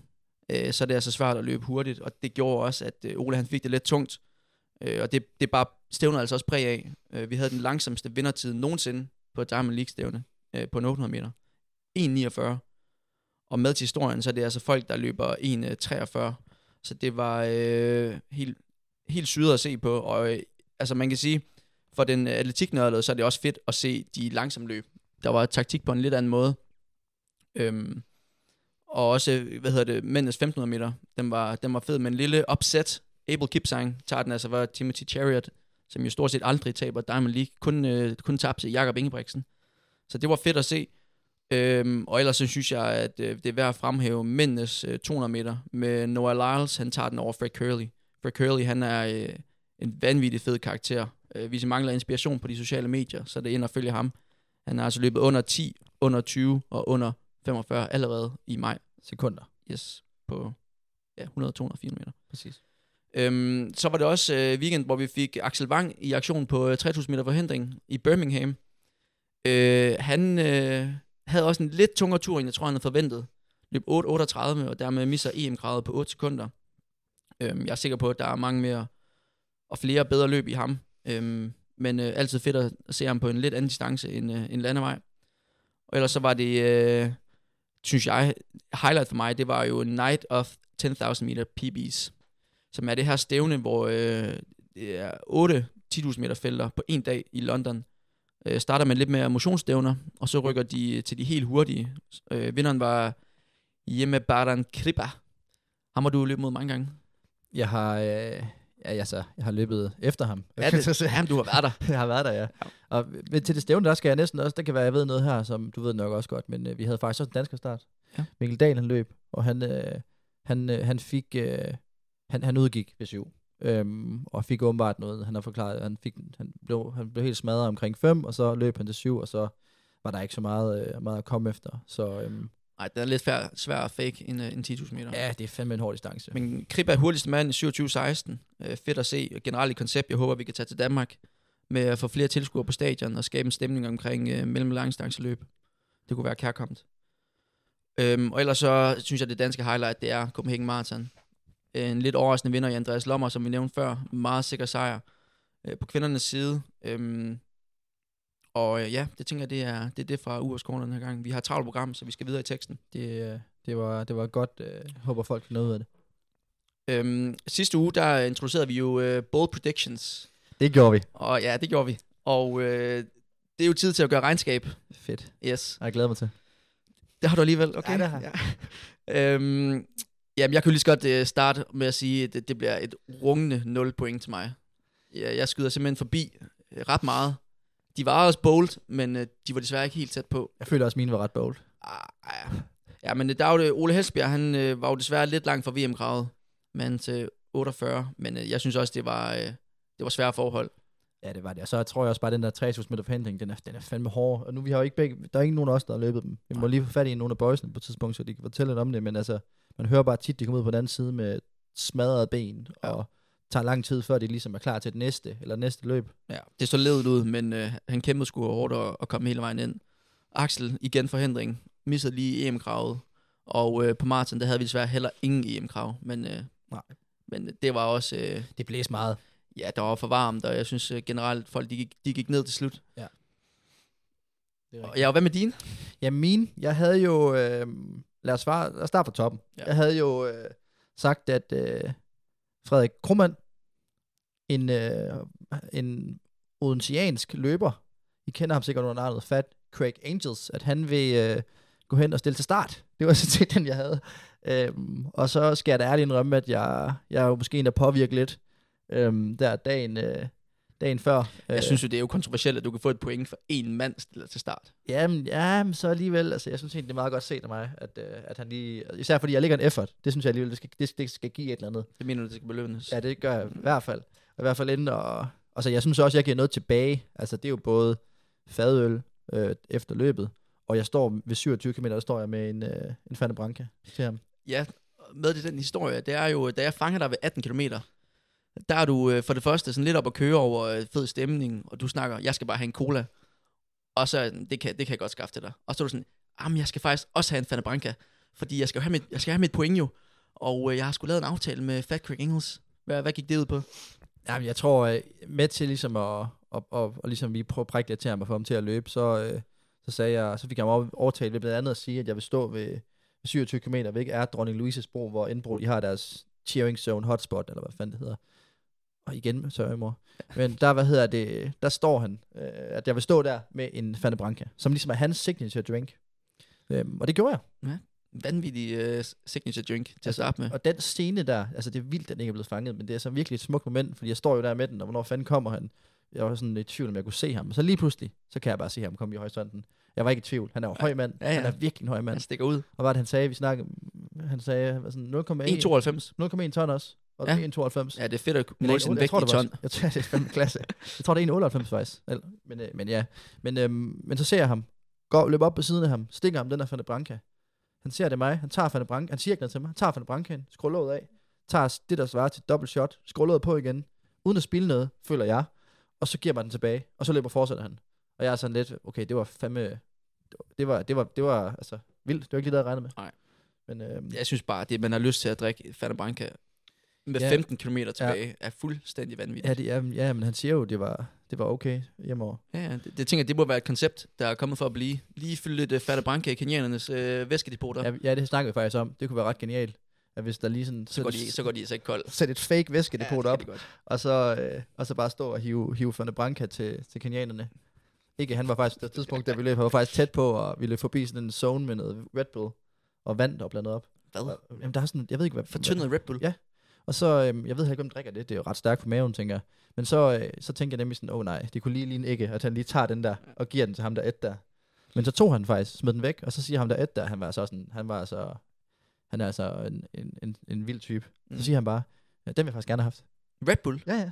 Speaker 4: øh, så er det altså svært at løbe hurtigt, og det gjorde også, at øh, Ole han fik det lidt tungt, øh, og det, det bare stævner altså også præg af. Øh, vi havde den langsomste vindertid nogensinde på et Diamond League-stævne øh, på en 800 meter. 1,49. Og med til historien, så er det altså folk, der løber 1,43. Så det var øh, helt, helt syret at se på, og øh, altså man kan sige, for den øh, atletiknørdede, så er det også fedt at se de langsomme løb. Der var taktik på en lidt anden måde. Øhm, og også, øh, hvad hedder det, mændenes 1500 meter, den var, den var fed med en lille upset. Abel Kipsang tager den altså var Timothy Chariot, som jo stort set aldrig taber Diamond League, kun, øh, kun tabte til Jakob Ingebrigtsen. Så det var fedt at se. Øhm, og ellers så synes jeg, at øh, det er værd at fremhæve mændenes øh, 200 meter med Noah Lyles, han tager den over Fred Curley. Fred Curley, han er øh, en vanvittig fed karakter. Øh, hvis I mangler inspiration på de sociale medier, så er det ind og følge ham. Han har altså løbet under 10, under 20 og under 45 allerede i maj.
Speaker 5: Sekunder.
Speaker 4: Yes, på ja, 100, 200, 400 meter.
Speaker 5: Præcis.
Speaker 4: Øhm, så var det også øh, weekend, hvor vi fik Axel Wang i aktion på øh, 3000 meter forhindring i Birmingham. Øh, han øh, havde også en lidt tungere tur, end jeg tror, han havde forventet. Løb 8.38, og dermed misser EM-gradet på 8 sekunder. Øhm, jeg er sikker på, at der er mange mere og flere bedre løb i ham. Øhm, men øh, altid fedt at se ham på en lidt anden distance end, øh, end landevej. Og ellers så var det, øh, synes jeg, highlight for mig, det var jo Night of 10.000 meter PB's, som er det her stævne, hvor øh, det er 8 10.000 meter felter på en dag i London. Øh, starter med lidt mere motionsstævner, og så rykker de til de helt hurtige. Øh, vinderen var Hjemme Baran Kripa. Ham har du løbet mod mange gange.
Speaker 5: Jeg har, øh, Ja, altså, jeg har løbet efter ham.
Speaker 4: Ja, det- jamen, du har været der.
Speaker 5: jeg har været der, ja. Og ved- til det stævne, der skal jeg næsten også, der kan være, jeg ved noget her, som du ved nok også godt, men øh, vi havde faktisk også en dansker start. Ja. Mikkel Dahl, han løb, og han, øh, han, øh, han fik, øh, han, han udgik ved syv. Øhm, og fik åbenbart noget, han har forklaret, han, fik, han, blev, han blev helt smadret omkring 5, og så løb han til 7, og så var der ikke så meget, øh, meget at komme efter. Så, øhm,
Speaker 4: Nej, det er lidt svær, svær at fake en, øh, en 10.000 meter.
Speaker 5: Ja, det er fandme en hård distance.
Speaker 4: Men Kribbe er hurtigste mand i 27-16. Øh, fedt at se. Og Generelt et koncept, jeg håber, vi kan tage til Danmark med at få flere tilskuere på stadion og skabe en stemning omkring øh, mellem- og langdistanceløb. Det kunne være kærkomt. Øhm, og ellers så synes jeg, det danske highlight, det er Copenhagen Marathon. En lidt overraskende vinder i Andreas Lommer, som vi nævnte før. Meget sikker sejr øh, på kvindernes side. Øhm, og øh, ja, det tænker jeg, det er det, er det fra Uvers Corner den her gang. Vi har et travlt program, så vi skal videre i teksten.
Speaker 5: Det, øh, det, var, det var godt. Øh, jeg håber, folk kan noget af det.
Speaker 4: Øhm, sidste uge, der introducerede vi jo øh, Bold Predictions.
Speaker 5: Det gjorde vi.
Speaker 4: Og ja, det gjorde vi. Og øh, det er jo tid til at gøre regnskab.
Speaker 5: Fedt.
Speaker 4: Yes.
Speaker 5: Og jeg glæder mig til.
Speaker 4: Det har du alligevel, okay?
Speaker 5: Ja, det har
Speaker 4: jeg. Ja. øhm, jamen, jeg kan jo lige så godt øh, starte med at sige, at det, det bliver et rungende 0 point til mig. Jeg, jeg skyder simpelthen forbi øh, ret meget. De var også bold, men øh, de var desværre ikke helt tæt på.
Speaker 5: Jeg føler også, at mine var ret bold.
Speaker 4: Ah, Ja, men øh, der er jo det, Ole Hesbjerg, han øh, var jo desværre lidt langt fra VM-kravet, men til 48, men øh, jeg synes også, det var, øh, det var svære forhold.
Speaker 5: Ja, det var det. Og så tror jeg også bare, at den der 3000 meter forhindring, den er, den er fandme hård. Og nu vi har jo ikke begge, der er ikke nogen af os, der har løbet dem. Vi må lige få fat i nogle af boysene på et tidspunkt, så de kan fortælle lidt om det. Men altså, man hører bare tit, de kommer ud på den anden side med smadrede ben, ja. og tager lang tid, før de ligesom er klar til det næste, eller næste løb.
Speaker 4: Ja, det så ledet ud, men øh, han kæmpede sgu hårdt og, og kom hele vejen ind. Axel, igen forhindring, missede lige EM-kravet, og øh, på Martin, der havde vi desværre heller ingen EM-krav, men, øh,
Speaker 5: Nej.
Speaker 4: men det var også... Øh,
Speaker 5: det blæste meget.
Speaker 4: Ja, der var for varmt, og jeg synes øh, generelt, folk de gik, de gik ned til slut.
Speaker 5: Ja.
Speaker 4: Og ja, og hvad med dine?
Speaker 5: Ja, mine. Jeg havde jo... Øh, lad, os svare, lad os starte fra toppen. Ja. Jeg havde jo øh, sagt, at øh, Frederik Krummann, en, øh, en odenseansk løber, I kender ham sikkert under navnet Fat Craig Angels, at han vil øh, gå hen og stille til start. Det var sådan set den, jeg havde. Øhm, og så skal jeg da ærligt indrømme, at jeg, jeg er jo måske en, der påvirker lidt øhm, der dagen, øh, dagen før.
Speaker 4: Jeg
Speaker 5: Øh,
Speaker 4: synes jo, det er jo kontroversielt, at du kan få et point for én mand stiller til start.
Speaker 5: Jamen, ja, men så alligevel, altså jeg synes egentlig, det er meget godt set af mig, at, øh, at han lige, især fordi jeg lægger en effort, det synes jeg alligevel, det skal, det, det skal give et eller andet.
Speaker 4: Det mener du, det skal belønnes?
Speaker 5: Ja, det gør jeg i hvert fald. I hvert fald inden, og, og så jeg synes også, jeg giver noget tilbage, altså det er jo både fadøl øh, efter løbet, og jeg står ved 27 km, der står jeg med en, øh, en Fanta Branca til ham.
Speaker 4: Ja, med det den historie, det er jo, da jeg fanger dig ved 18 km, der er du øh, for det første sådan lidt op at køre over øh, fed stemning, og du snakker, jeg skal bare have en cola. Og så, er jeg sådan, det kan, det kan jeg godt skaffe til dig. Og så er du sådan, jamen jeg skal faktisk også have en Fanta Branca, fordi jeg skal jo have mit, jeg skal have mit point jo. Og øh, jeg har sgu lavet en aftale med Fat Craig Engels. Hvad, hvad gik det ud på?
Speaker 5: Jamen, jeg tror, øh, med til ligesom at, at, at, at, at ligesom vi prøver at prikke lidt til ham og få ham til at løbe, så, øh, så, sagde jeg, så fik jeg ham over- overtalt ved blandt andet at sige, at jeg vil stå ved, ved 27 km væk er Dronning Louises bro, hvor indbro de har deres cheering zone hotspot, eller hvad fanden det hedder. Og igen, sorry mor. Men der, hvad hedder det, der står han, øh, at jeg vil stå der med en Fanta Branca, som ligesom er hans signature drink. Øhm, og det gjorde jeg.
Speaker 4: Ja. Vanvittig øh, signature drink til at starte med.
Speaker 5: Og den scene der, altså det er vildt, at den ikke er blevet fanget, men det er så virkelig et smukt moment, fordi jeg står jo der med den, og hvornår fanden kommer han? Jeg var sådan lidt i tvivl, om jeg kunne se ham. Så lige pludselig, så kan jeg bare se ham komme i horisonten. Jeg var ikke i tvivl. Han er jo en høj mand.
Speaker 4: Ja, ja.
Speaker 5: Han er virkelig en høj mand.
Speaker 4: Han stikker ud.
Speaker 5: Og hvad er det, han sagde? Vi snakkede, han sagde hvad sådan
Speaker 4: 1,92.
Speaker 5: 0,1 ton også. Og
Speaker 4: Ja.
Speaker 5: ja. 1,92.
Speaker 4: Ja, det er fedt at
Speaker 5: Eller
Speaker 4: måle sin
Speaker 5: 1,8.
Speaker 4: vægt
Speaker 5: Jeg tror,
Speaker 4: i
Speaker 5: det var-
Speaker 4: ton.
Speaker 5: Jeg tror, det er fandme klasse. Jeg tror, det er 1,98 faktisk. Eller, men, øh, men ja. Men, øhm, men så ser jeg ham. Går, løber op på siden af ham. Stikker ham den her Fanta Branca. Han ser det mig. Han tager Fanta Branca. Han siger ikke noget til mig. Han tager Fanta Brancaen. Skruller ud af. Tager det, der svarer til dobbelt shot. Skruller ud på igen. Uden at spille noget, føler jeg. Og så giver man den tilbage. Og så løber fortsætter han. Og jeg er sådan lidt, okay, det var fandme... Det var, det var, det var altså vildt. Det var ikke lige det, jeg regnede med.
Speaker 4: Nej.
Speaker 5: Men, øhm,
Speaker 4: Jeg synes bare, at det, man har lyst til at drikke Fanta Branca med
Speaker 5: Ja.
Speaker 4: 15 km tilbage,
Speaker 5: Ja.
Speaker 4: er fuldstændig vanvittigt.
Speaker 5: Ja, det, ja, ja, men han siger jo, det var, det var okay hjemover.
Speaker 4: Ja, ja, det, det tænker jeg, det må være et koncept, der er kommet for at blive. Lige fylde lidt uh, Fata Branca i kenianernes øh, væskedepoter.
Speaker 5: Ja, ja, det snakkede vi faktisk om. Det kunne være ret genialt, at hvis der lige sådan...
Speaker 4: så, går de, så går de altså ikke kold.
Speaker 5: Sæt et fake
Speaker 4: Ja,
Speaker 5: væskedepot
Speaker 4: det
Speaker 5: op,
Speaker 4: kan de godt.
Speaker 5: og så, øh, og så bare stå og hive, hive Fanta Branca til, til kenianerne. Ikke, han var faktisk, det tidspunkt, da vi løb, han var faktisk tæt på, og vi løb forbi sådan en zone med noget Red Bull, og vand, der var blandet op.
Speaker 4: Hvad?
Speaker 5: Jamen, der er sådan, jeg ved ikke, hvad...
Speaker 4: Fortyndet Red Bull?
Speaker 5: Ja. Og så, øhm, jeg ved ikke, hvem drikker det, det er jo ret stærkt for maven, tænker jeg. Men så, øh, så tænker jeg nemlig sådan, åh oh, nej, det kunne lige ligne ikke, at han lige tager den der, og giver den til ham, der et der. Men så tog han faktisk, smed den væk, og så siger ham der et der, han var altså også en, han var altså, han er altså en, en, en, en vild type. Mm. Så siger han bare, ja, den vil jeg faktisk gerne have haft.
Speaker 4: Red Bull?
Speaker 5: Ja, ja.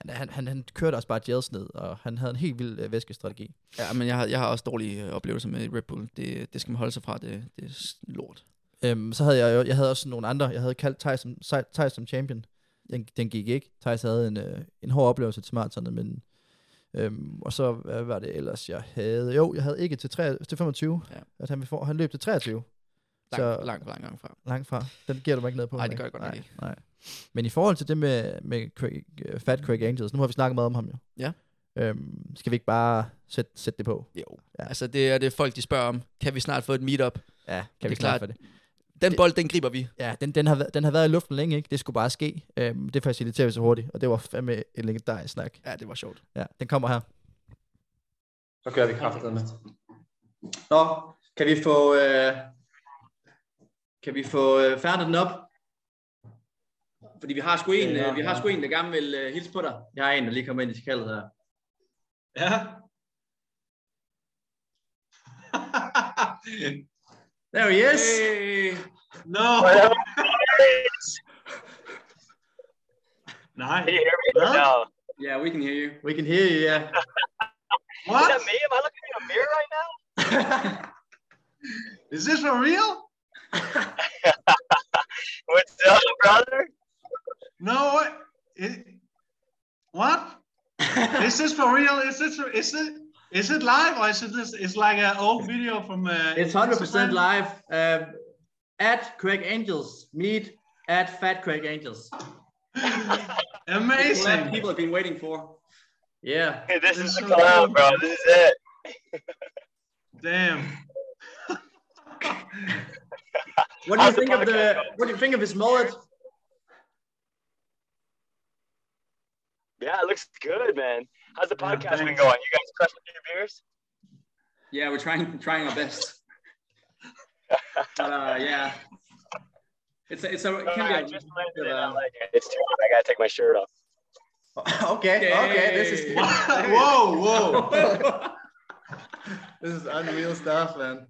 Speaker 5: Han, han, han, han kørte også bare jails ned, og han havde en helt vild øh, væskestrategi.
Speaker 4: Ja, men jeg har, jeg har også dårlige øh, oplevelser med Red Bull. Det, det skal man holde sig fra. Det, det er s- lort.
Speaker 5: Øhm, så havde jeg jo- jeg havde også nogle andre. Jeg havde kaldt Thijs som, Thij- Thijs som champion. Den, den gik ikke. Thijs havde en, øh, en hård oplevelse til maratonet, men... Øhm, og så, hvad var det ellers, jeg havde? Jo, jeg havde ikke til, 3, til 25, ja. at han, ville få, han løb til 23.
Speaker 4: Langt, langt, langt, langt fra.
Speaker 5: Langt fra. Den giver du mig ikke ned på.
Speaker 4: Nej, det
Speaker 5: Henrik.
Speaker 4: gør jeg godt nok
Speaker 5: nej,
Speaker 4: ikke.
Speaker 5: Nej. Men i forhold til det med, med Craig, øh, Fat Craig Angels, nu har vi snakket meget om ham jo.
Speaker 4: Ja.
Speaker 5: Øhm, skal vi ikke bare sætte, sætte det på?
Speaker 4: Jo.
Speaker 5: Ja.
Speaker 4: Ja. Altså, det er det folk, de spørger om. Kan vi snart få et meetup?
Speaker 5: Ja,
Speaker 4: det
Speaker 5: kan vi
Speaker 4: er
Speaker 5: snart få det?
Speaker 4: Den bold, den griber vi.
Speaker 5: Ja, den, den, har, væ- den har været i luften længe, ikke? Det skulle bare ske. Øhm, det faciliterer vi så hurtigt, og det var fandme en legendarisk snak.
Speaker 4: Ja, det var sjovt.
Speaker 5: Ja, den kommer her.
Speaker 8: Så kører vi kraftet med. Nå, kan vi få, øh, kan vi få øh, færdet den op? Fordi vi har sgu en, øh, vi har sgu en der gerne vil øh, hilse på dig. Jeg har en, der lige kommer ind i skaldet her. Ja. There he is.
Speaker 11: Hey. No.
Speaker 8: Nej.
Speaker 11: Can you hear me? No.
Speaker 8: Yeah, we can hear you. We can hear you, yeah.
Speaker 11: What? Is that me? Am I looking in a mirror right now?
Speaker 8: Is this for real?
Speaker 11: What's up, brother?
Speaker 8: No, what? It, what? is this for real? Is this? Is it? Is it live or is it this? It's like an old video from. Uh,
Speaker 12: It's 100%
Speaker 8: Instagram?
Speaker 12: live. Um, at Craig Angels. Meet at Fat Craig Angels.
Speaker 8: Amazing.
Speaker 12: Collab
Speaker 8: people have been waiting for.
Speaker 12: Yeah.
Speaker 11: this is the collab, bro. This is it.
Speaker 8: Damn.
Speaker 12: What do you think of the? What do you think of his mullet?
Speaker 11: Yeah, it looks good, man. How's the podcast been going? You guys crushing your beers?
Speaker 8: Yeah, we're trying trying our best. but uh, yeah, it's a, it's a it can be
Speaker 11: I
Speaker 8: a,
Speaker 11: just landed and I like it. It's too hot. I gotta take my shirt off.
Speaker 12: Okay. Okay. This is.
Speaker 8: whoa, whoa. this is unreal stuff, man.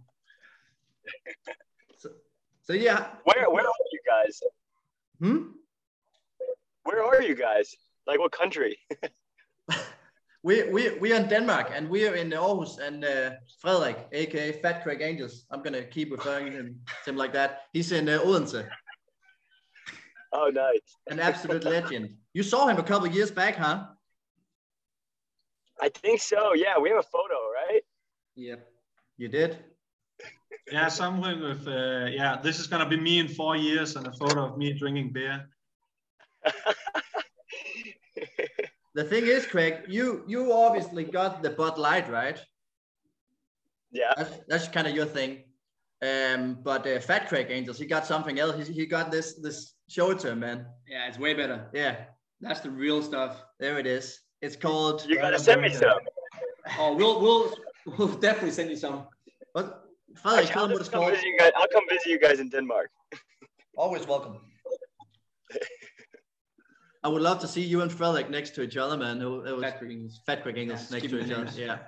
Speaker 12: So yeah.
Speaker 11: Where where are you guys?
Speaker 12: Hmm?
Speaker 11: Where are you guys? Like what country?
Speaker 12: We we we are in Denmark and we are in Aarhus and uh, Frederik, aka Fat Craig Angels. I'm gonna keep referring to him to him like that. He's in uh, Odense.
Speaker 11: Oh, nice.
Speaker 12: An absolute legend. You saw him a couple years back, huh?
Speaker 11: I think so. Yeah, we have a photo, right?
Speaker 12: Yep. You did.
Speaker 8: Yeah, something with uh, yeah. This is gonna be me in four years and a photo of me drinking beer.
Speaker 12: The thing is, Craig, you you obviously got the Bud Light, right?
Speaker 11: Yeah.
Speaker 12: That's, that's kind of your thing. Um, but uh, Fat Craig Angels, he got something else. He, he got this this shoulder, man.
Speaker 8: Yeah, it's way better.
Speaker 12: Yeah,
Speaker 8: That's the real stuff.
Speaker 12: there it is. It's called.
Speaker 11: You gotta send me some.
Speaker 8: Oh, we'll we'll we'll definitely send you some.
Speaker 12: What?
Speaker 11: Actually, I'll, just come visit you guys. I'll come visit you guys in Denmark.
Speaker 12: Always welcome. I would love to see you and Frederik next to each other, man. It, wa- it was Fat Craig Angels, next
Speaker 8: keep
Speaker 12: to
Speaker 8: it
Speaker 12: each other.
Speaker 8: nice.
Speaker 12: Yeah,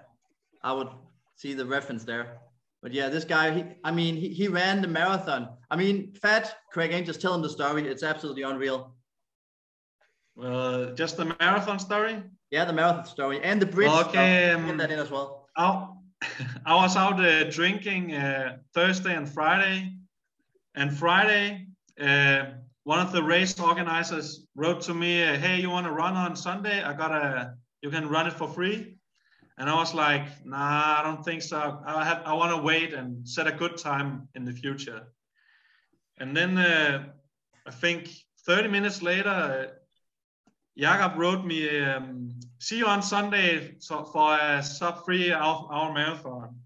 Speaker 12: I would see the reference there. But yeah, this guy, he, I mean, he, he ran the marathon. I mean, Fat Craig Angels, tell him the story. It's absolutely unreal.
Speaker 8: Uh, just the marathon story.
Speaker 12: Yeah, the marathon story and the bridge. stuff.
Speaker 8: Okay, um,
Speaker 12: Get that in as well.
Speaker 8: out, I was out uh, drinking uh, Thursday and Friday. And Friday, uh, one of the race organizers wrote to me, uh, "Hey, you want to run on Sunday? I got a, you can run it for free." And I was like, "Nah, I don't think so. I have, I want to wait and set a good time in the future." And then uh, I think 30 minutes later, uh, Jakob wrote me, um, see you on Sunday so- for a sub three hour, hour marathon.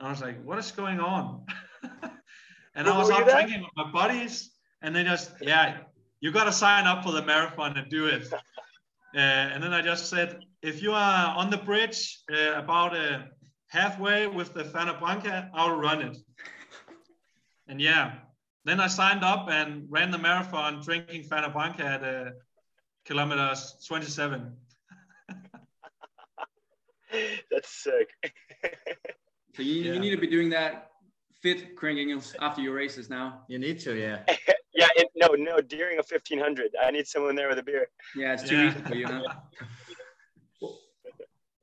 Speaker 8: And I was like, what is going on? and I
Speaker 11: Were
Speaker 8: was
Speaker 11: you
Speaker 8: out
Speaker 11: there?
Speaker 8: drinking with my buddies, and they just, yeah, you got to sign up for the marathon and do it. Uh, and then I just said, if you are on the bridge uh, about uh, halfway with the Fana Branca, I'll run it. And yeah, Then I signed up and ran the marathon drinking Fanta Branca at uh, kilometers 27.
Speaker 11: That's sick.
Speaker 12: So you, you need to be doing that fit crankings after your races now.
Speaker 5: You need to, yeah.
Speaker 11: Yeah, it, no, no, during a 1500. I need someone there with a beer.
Speaker 12: Yeah,
Speaker 5: it's too Yeah. easy for you, huh?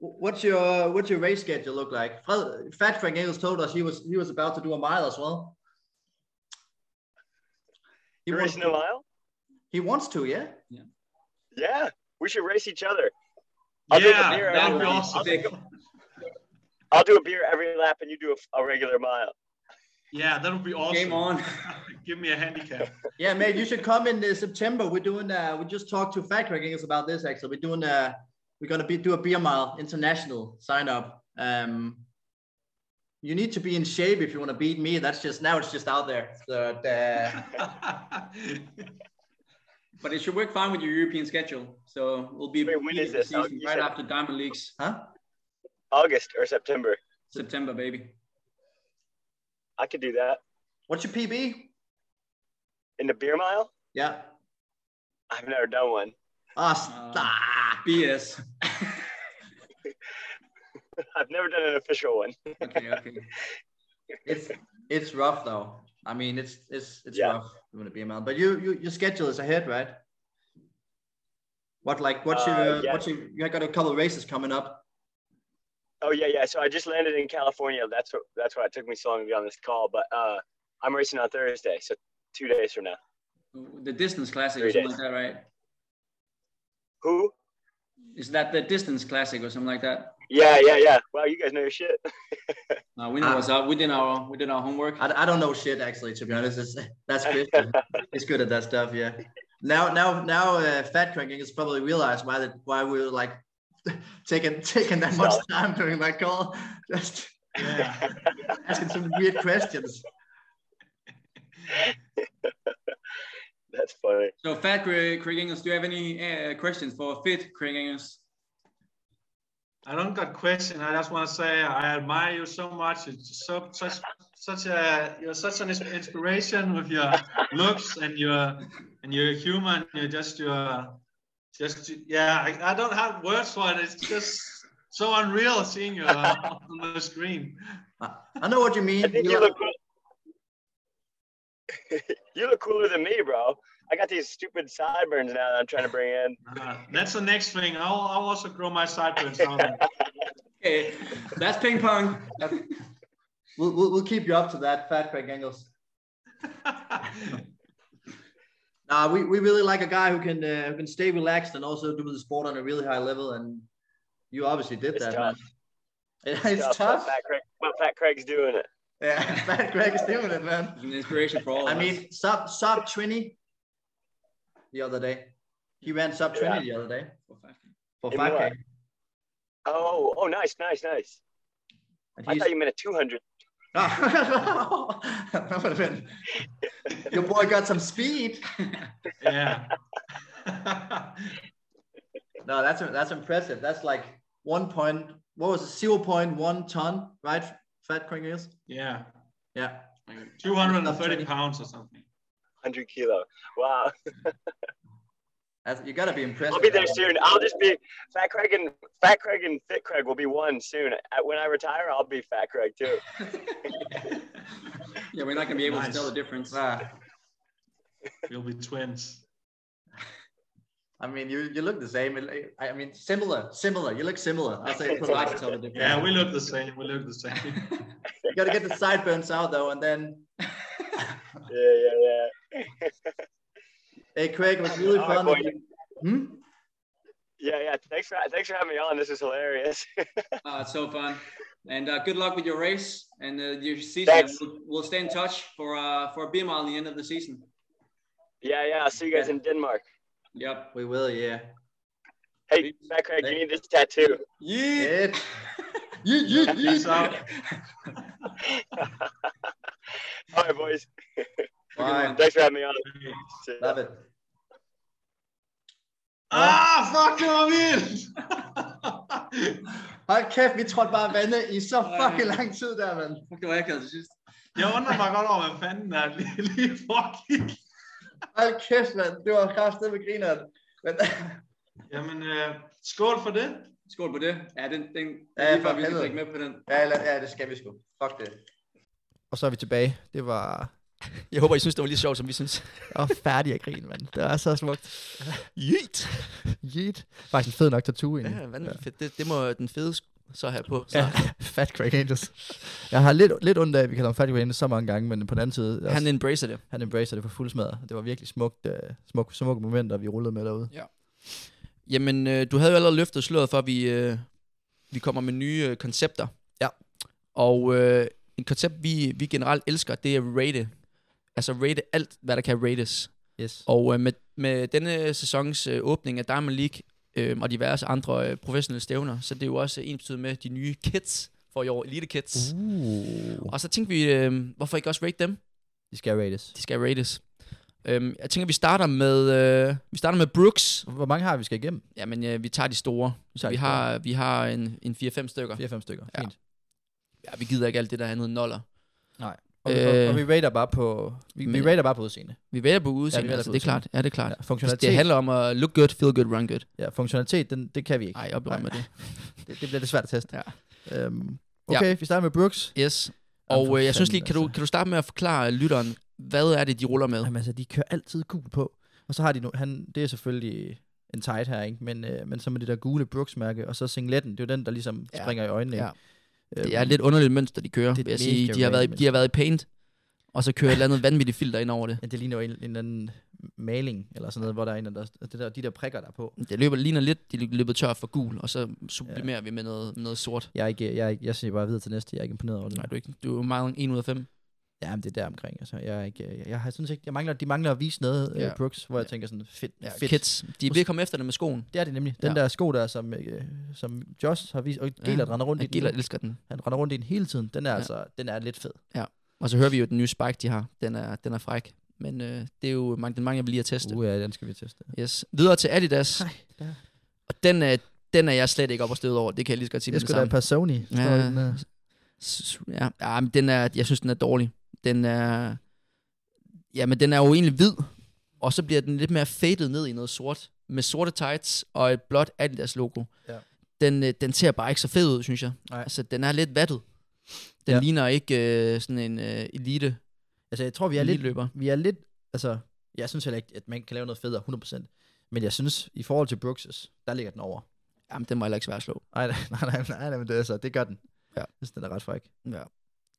Speaker 5: What's your what's your race schedule look like? Fred, Fat Frank Engels told us he was he was about to do a mile as well. He
Speaker 11: You're
Speaker 5: wants
Speaker 11: racing a
Speaker 5: to-
Speaker 11: mile?
Speaker 5: He wants to, yeah.
Speaker 11: Yeah, we should race each other. I'll do
Speaker 5: Yeah,
Speaker 11: a beer
Speaker 5: that'd
Speaker 11: every
Speaker 5: be
Speaker 11: lap.
Speaker 5: awesome.
Speaker 11: I'll, take a- I'll do a beer every lap, and you do a, a regular mile.
Speaker 8: Yeah, that'll be awesome.
Speaker 11: Game on.
Speaker 8: Give me a handicap.
Speaker 5: Yeah, mate, you should come in uh, September. We're doing. Uh, we just talked to Fat Crack Engels about this. Actually, we're doing. Uh, we're gonna be do a beer mile international sign up. Um, you need to be in shape if you want to beat me. That's just now. It's just out there. So, uh,
Speaker 12: But it should work fine with your European schedule. So we'll be
Speaker 11: Wait, when is this? Oh,
Speaker 12: season
Speaker 11: you
Speaker 12: right
Speaker 11: said-
Speaker 12: after Diamond Leagues.
Speaker 5: Huh?
Speaker 11: August or September.
Speaker 12: September, baby.
Speaker 11: I could do that.
Speaker 5: What's your PB?
Speaker 11: In the beer mile?
Speaker 5: Yeah.
Speaker 11: I've never done one.
Speaker 5: Ah, stop.
Speaker 12: BS.
Speaker 11: I've never done an official one.
Speaker 12: okay, okay.
Speaker 5: it's it's rough though. I mean, it's it's it's rough doing a beer mile. But you, you your schedule is ahead, right? What like what's
Speaker 11: Uh,
Speaker 5: your
Speaker 11: yeah.
Speaker 5: what's your you got a couple of races coming up?
Speaker 11: Oh yeah, yeah. So I just landed in California. That's what that's why it took me so long to get on this call. But uh, I'm racing on Thursday, so two days from now.
Speaker 12: The distance classic or
Speaker 11: Three
Speaker 12: something
Speaker 11: days.
Speaker 12: like that, right?
Speaker 11: Who?
Speaker 12: Is that the distance classic or something like that?
Speaker 11: Yeah, yeah, yeah. Wow, you guys know your shit.
Speaker 12: No,
Speaker 5: Ah.
Speaker 12: we know what's up. We did our we did our homework.
Speaker 5: I, I don't know shit actually. To be honest, it's, that's Christian. He's good at that stuff. Yeah. Now now now uh, fat cranking has probably realized why that why we were like taking taking that much time during that call, just asking some weird questions.
Speaker 11: That's funny.
Speaker 12: So, Fat Craig Craig Engels, do you have any uh, questions for Fit Craig Engels?
Speaker 8: I don't got question. I just want to say I admire you so much. It's so such such a you're such an ins- inspiration with your looks and your and your humor. And you're just your just yeah. I, I don't have words for it. It's just so unreal seeing you on the screen.
Speaker 5: I know what you mean.
Speaker 11: I think you look. you look cooler than me, bro. I got these stupid sideburns now that I'm trying to bring in.
Speaker 8: uh, That's the next thing. I'll, I'll also grow my sideburns out.
Speaker 12: Okay, that's ping pong.
Speaker 5: We'll, we'll, we'll keep you up to that, Fat Craig Engels. nah, we, we really like a guy who can uh, who can stay relaxed and also do the sport on a really high level, and you obviously did that, man. It's tough.
Speaker 11: But Fat, Craig, but Fat Craig's doing it.
Speaker 5: Yeah, Fat Craig is doing it, man.
Speaker 12: An inspiration for all.
Speaker 5: I mean, sub sub twenty the other day. He ran sub twenty
Speaker 11: Yeah.
Speaker 5: the other day for
Speaker 11: In
Speaker 5: five k.
Speaker 11: what? Oh, oh, nice, nice, nice. I
Speaker 5: he's-
Speaker 11: thought you meant a 200.
Speaker 5: that would have been. Your boy got some speed.
Speaker 8: Yeah.
Speaker 5: no, that's that's impressive. That's like one point. What was it? Zero point one ton, right? Fat Kringles.
Speaker 8: Yeah.
Speaker 5: Yeah.
Speaker 8: 230 pounds or something.
Speaker 11: 100 kilo. Wow.
Speaker 5: That's, you gotta be impressed.
Speaker 11: I'll be there soon. I'll just be Fat Craig and Fat Craig and Fit Craig will be one soon. At- When I retire, I'll be Fat Craig too.
Speaker 12: Yeah, we're not gonna be able to
Speaker 8: Nice. Ah.
Speaker 12: tell the difference.
Speaker 8: We'll be twins.
Speaker 5: I mean, you you look the same. It- I I mean, similar, similar. You look similar. I say it's a lot to tell the difference.
Speaker 8: Yeah, we look the same. We look the same.
Speaker 5: You gotta get the sideburns out though, and then
Speaker 11: Yeah, yeah, yeah.
Speaker 5: hey, Craig, it was really
Speaker 11: All right,
Speaker 5: fun.
Speaker 11: boy.
Speaker 5: Hmm?
Speaker 11: yeah, yeah. Thanks for thanks for having me on. This is hilarious.
Speaker 12: Uh, it's so fun, and uh, good luck with your race and uh, your season.
Speaker 11: Thanks.
Speaker 12: We'll, we'll stay in touch for uh, for a beer mile at the end of the season.
Speaker 11: yeah, yeah. I'll see you guys in Denmark.
Speaker 12: Yep.
Speaker 5: We will. Yeah.
Speaker 11: Hey, Fat Craig, you need this tattoo.
Speaker 5: Yeah. Yeah, yeah, yeah.
Speaker 11: All right, boys.
Speaker 5: Bye.
Speaker 11: Thanks for having me on. See ya.
Speaker 5: Love it.
Speaker 8: Ah, fuck, det var vildt!
Speaker 5: Hold kæft, vi trådte bare vandet i så fucking lang tid der, mand.
Speaker 12: Fuck, det var akavet til sidst.
Speaker 13: Jeg undrer mig godt over, hvad fanden der lige, lige foregik.
Speaker 14: Hold kæft, mand. Det var kraftedet med grineren. Men,
Speaker 13: Jamen, øh, skål for det.
Speaker 15: Skål på det.
Speaker 12: uh,
Speaker 15: Ja, den, den,
Speaker 14: Ja,
Speaker 15: ja,
Speaker 14: for
Speaker 15: lige før vi skal
Speaker 14: helvede.
Speaker 15: drikke med på den.
Speaker 14: ja, eller, ja, det skal vi sgu. Fuck det.
Speaker 5: Og så er vi tilbage. Det var...
Speaker 4: Jeg håber, I synes, det var lige sjovt, som vi synes.
Speaker 5: Jeg var færdig at grine, mand. Det var så smukt. Yeet! Yeet. Faktisk en fed nok tattoo, egentlig.
Speaker 4: Ja, vanvittigt fedt. Det, det må den fede sk- så have på. Så.
Speaker 5: Ja, Fat Craig Angels. Jeg har lidt, lidt ondt af, at vi kalder ham Fat Craig Angels så mange gange, men på den anden side...
Speaker 4: Han embracer det.
Speaker 5: Han embracer det for fuld smadret. Det var virkelig smukt, uh, smukt, smukke momenter, vi rullede med derude.
Speaker 4: Ja. Jamen, øh, du havde jo allerede løftet sløret for, at vi, øh, vi kommer med nye øh, koncepter.
Speaker 5: Ja.
Speaker 4: Og øh, et koncept, vi, vi generelt elsker, det er rate. Altså rate alt, hvad der kan rates.
Speaker 5: Yes.
Speaker 4: Og øh, med, med denne sæsons øh, åbning af Diamond League øh, og diverse andre øh, professionelle stævner, så det er jo også øh, ensbetydende med de nye kits for i år, Elite Kids.
Speaker 5: Uh.
Speaker 4: Og så tænkte vi, øh, hvorfor ikke også rate dem?
Speaker 5: De skal rates.
Speaker 4: De skal rates. Øhm, jeg tænker, vi starter med, øh, vi starter med Brooks.
Speaker 5: Hvor mange har vi skal igennem?
Speaker 4: Jamen, øh, vi tager de store. Vi,
Speaker 5: tager
Speaker 4: vi,
Speaker 5: de
Speaker 4: har, vi har en, en 4-5 stykker.
Speaker 5: 4-5 stykker,
Speaker 4: ja. fint. Ja, vi gider ikke alt det der andet noller.
Speaker 5: Nej. Og, øh, og, og, vi rater bare på, vi, vi
Speaker 4: men-
Speaker 5: rater bare på udseende.
Speaker 4: Vi vælger på udseende,
Speaker 5: vælger
Speaker 4: ja, altså,
Speaker 5: på
Speaker 4: det er
Speaker 5: udseende.
Speaker 4: klart. Ja, det er klart.
Speaker 5: Ja, funktionalitet.
Speaker 4: Det handler om at look good, feel good, run good.
Speaker 5: Ja, funktionalitet, den, det kan vi ikke.
Speaker 4: Ej, jeg berømmer det.
Speaker 5: det. Det bliver lidt svært at teste. Ja. Øhm, okay,
Speaker 4: Ja.
Speaker 5: vi starter med Brooks.
Speaker 4: Yes.
Speaker 5: for
Speaker 4: Og øh, jeg synes
Speaker 5: fanden,
Speaker 4: lige, kan du, kan du starte med at forklare lytteren, hvad er det, de ruller med?
Speaker 5: Jamen altså, de kører altid gul på. Og så har de nu, han, det er selvfølgelig en tight her, ikke? Men, øh, men så med det der gule Brooks-mærke, og så singletten, det er jo den, der ligesom
Speaker 4: Ja.
Speaker 5: ja. springer i øjnene. Øhm,
Speaker 4: Ja.
Speaker 5: Ja.
Speaker 4: Det er et lidt underligt mønster, de kører,
Speaker 5: Det er et
Speaker 4: vil jeg sige.
Speaker 5: mega
Speaker 4: De har, været, i-
Speaker 5: random
Speaker 4: de har været i paint, og så kører et eller andet vanvittigt filter ind over det.
Speaker 5: Ja, det ligner jo en, en eller anden maling, eller sådan noget, hvor der er en, der, det der, de der prikker der er på.
Speaker 4: Det løber, ligner lidt, de løber tør for gul, og så sublimerer ja. vi med noget, noget sort.
Speaker 5: Jeg, er ikke, jeg, er ikke- jeg siger bare videre til næste, jeg er ikke imponeret over det.
Speaker 4: Nej, du er ikke. Du er meget 1 ud af 5.
Speaker 5: Ja, men det er der omkring. Altså, jeg, er ikke, jeg, jeg, har synes ikke, jeg mangler, de mangler at vise noget,
Speaker 4: Ja.
Speaker 5: ja. Brooks, hvor jeg tænker sådan, fedt,
Speaker 4: Ja,
Speaker 5: fedt.
Speaker 4: kids. De er ved at komme efter det med skoen.
Speaker 5: Det er det nemlig. Den
Speaker 4: Ja.
Speaker 5: ja. der sko der, som, øh, som Josh har vist, og Gellert
Speaker 4: Ja,
Speaker 5: render rundt
Speaker 4: ja,
Speaker 5: i den.
Speaker 4: Gellert
Speaker 5: nu.
Speaker 4: elsker den.
Speaker 5: Han render rundt i den hele tiden. Den er ja. altså, den er lidt fed.
Speaker 4: Ja. Og så hører vi jo den nye spike, de har. Den er, den er fræk. Men øh, det er jo mange, den mange, jeg vil lige at teste.
Speaker 5: Uh, ja, den skal vi teste.
Speaker 4: Yes. Videre til Adidas. Nej,
Speaker 5: ja.
Speaker 4: Og den er, den er jeg slet ikke op og støde over. Det kan jeg lige så godt sige
Speaker 5: Det er
Speaker 4: med
Speaker 5: sgu da
Speaker 4: samme.
Speaker 5: et par Sony, står
Speaker 4: Ja.
Speaker 5: den der.
Speaker 4: S- s- ja. ja, men den er, jeg synes, den er dårlig. Den er... Ja, men den er jo egentlig hvid, og så bliver den lidt mere faded ned i noget sort, med sorte tights og et blåt Adidas-logo.
Speaker 5: Ja.
Speaker 4: Den, øh, den ser bare ikke så fed ud, synes jeg.
Speaker 5: Nej.
Speaker 4: Altså, den er lidt vattet. Den
Speaker 5: Ja.
Speaker 4: ligner ikke øh, sådan en øh, elite.
Speaker 5: Altså, jeg tror, vi er lidt...
Speaker 4: Eliteløber.
Speaker 5: Vi er lidt... Altså, jeg synes heller ikke, at man kan lave noget federe 100%. Men jeg synes, i forhold til Brooks' der ligger den over.
Speaker 4: Jamen, den var heller ikke svær at slå.
Speaker 5: Nej, nej, nej, nej, nej, men det, altså, det gør den.
Speaker 4: Ja.
Speaker 5: Jeg synes, den er ret fræk.
Speaker 4: Ja.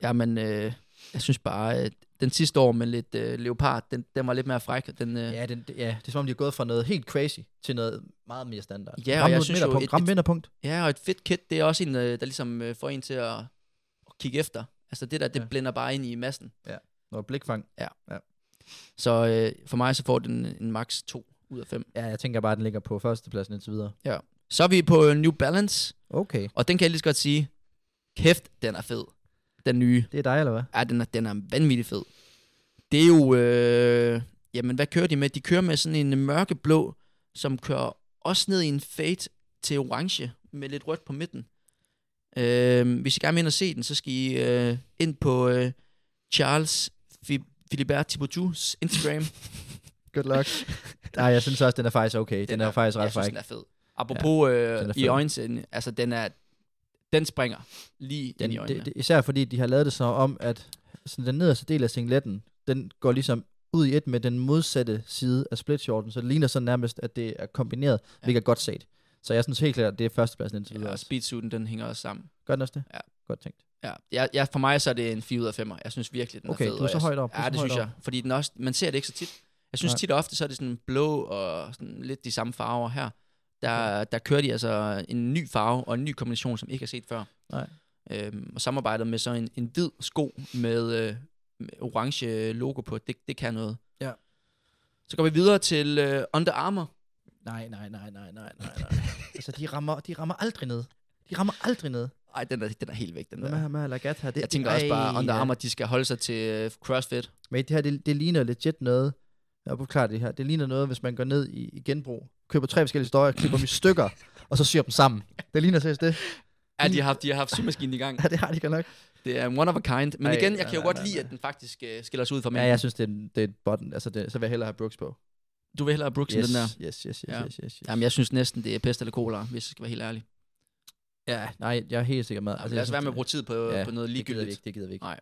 Speaker 4: Jamen, øh, jeg synes bare, at den sidste år med lidt øh, leopard, den, den var lidt mere fræk. og Den, øh,
Speaker 5: Ja, den, det- ja, det er som om, de er gået fra noget helt crazy til noget meget mere standard.
Speaker 4: Ja, og
Speaker 5: Ramme
Speaker 4: jeg
Speaker 5: et
Speaker 4: synes jo...
Speaker 5: vinderpunkt, ramme vinderpunkt.
Speaker 4: Ja, og et fedt kit, det er også en, øh, der ligesom øh, får en til at, at kigge efter. Altså det der, det ja. blænder bare ind i massen.
Speaker 5: Ja, noget blikfang.
Speaker 4: Ja.
Speaker 5: ja.
Speaker 4: Så øh, for mig så får den en max 2 ud af 5.
Speaker 5: Ja, jeg tænker bare, at den ligger på førstepladsen indtil videre.
Speaker 4: Ja. Så er vi på øh, New Balance.
Speaker 5: Okay.
Speaker 4: Og den kan jeg lige så godt sige, kæft, den er fed. Den nye.
Speaker 5: Det er dig, eller hvad?
Speaker 4: Ja, den er, den er vanvittig fed. Det er jo... Øh, jamen, hvad kører de med? De kører med sådan en mørkeblå, som kører også ned i en fade til orange, med lidt rødt på midten. Øh, hvis I gerne vil ind og se den, så skal I øh, ind på øh, Charles Fi- Philibert Tibotus Instagram.
Speaker 5: Good luck. Nej, jeg synes også, den er faktisk okay. Den, den er, er faktisk ret
Speaker 4: jeg synes,
Speaker 5: fræk.
Speaker 4: den er fed. Apropos
Speaker 5: den
Speaker 4: øh,
Speaker 5: er
Speaker 4: i
Speaker 5: fed.
Speaker 4: øjensenden, altså den er... Den springer lige den, ind i
Speaker 5: den,
Speaker 4: øjnene.
Speaker 5: det, det, især fordi de har lavet det så om, at sådan den nederste del af singletten, den går ligesom ud i et med den modsatte side af splitshorten, så det ligner så nærmest, at det er kombineret, ja. hvilket er godt set. Så jeg synes helt klart, at det er førstepladsen indtil videre.
Speaker 4: Og speedsuiten, den hænger også sammen.
Speaker 5: Gør den også det?
Speaker 4: altså. Ja.
Speaker 5: Godt tænkt.
Speaker 4: Ja, jeg, jeg, for mig så er det en 4 ud af 5. Jeg synes virkelig, den
Speaker 5: Okay,
Speaker 4: er fed.
Speaker 5: du er
Speaker 4: og
Speaker 5: så
Speaker 4: jeg-
Speaker 5: højt op, du er
Speaker 4: Ja,
Speaker 5: så
Speaker 4: det
Speaker 5: højt
Speaker 4: synes
Speaker 5: op.
Speaker 4: jeg. Fordi den også, man ser det ikke så tit. Jeg synes
Speaker 5: Nej.
Speaker 4: tit og ofte, så er det sådan blå og sådan lidt de samme farver her. Der, der kører de altså en ny farve og en ny kombination, som I ikke har set før.
Speaker 5: Nej.
Speaker 4: Øhm, og samarbejdet med så en, en hvid sko med, øh, med orange logo på. Det, det kan noget.
Speaker 5: Ja.
Speaker 4: Så går vi videre til øh, Under Armour.
Speaker 5: Nej, nej, nej, nej, nej, nej, nej. altså, de rammer, de rammer aldrig ned. De rammer aldrig ned.
Speaker 4: Ej, den er, den er helt væk, den
Speaker 5: Hvad
Speaker 4: der.
Speaker 5: med, med Lagat her? Det,
Speaker 4: Jeg tænker også bare,
Speaker 5: Ej,
Speaker 4: Under
Speaker 5: ja.
Speaker 4: Armour, de skal holde sig til øh, CrossFit.
Speaker 5: Men det her, det, det ligner legit noget. Jeg har klart det her. Det ligner noget, hvis man går ned i, i genbrug, køber tre forskellige støjer, klipper dem i stykker, og så syr dem sammen. Det ligner seriøst det.
Speaker 4: Ja, de har haft, de har haft symaskinen i gang.
Speaker 5: Ja, det har de godt nok.
Speaker 4: Det er en one of a kind. Men
Speaker 5: Ej,
Speaker 4: igen, jeg
Speaker 5: nej,
Speaker 4: kan jo
Speaker 5: nej,
Speaker 4: godt
Speaker 5: nej,
Speaker 4: lide,
Speaker 5: nej.
Speaker 4: at den faktisk øh, skiller sig ud fra
Speaker 5: Ja,
Speaker 4: mængden.
Speaker 5: jeg synes, det er, en- det er et button. Altså, det, så vil jeg hellere have Brooks på.
Speaker 4: Du vil hellere have Brooks
Speaker 5: yes,
Speaker 4: end den der?
Speaker 5: Yes, yes, yes,
Speaker 4: Ja.
Speaker 5: yes, yes, yes.
Speaker 4: Jamen, jeg synes næsten, det er pest eller cola, hvis jeg skal være helt ærlig.
Speaker 5: Ja, nej, jeg er helt sikker med.
Speaker 4: Altså, lad os
Speaker 5: jeg
Speaker 4: være
Speaker 5: synes,
Speaker 4: med at bruge tid på, ja, på noget
Speaker 5: det gider vi
Speaker 4: ligegyldigt.
Speaker 5: ikke, det gider vi ikke.
Speaker 4: Nej.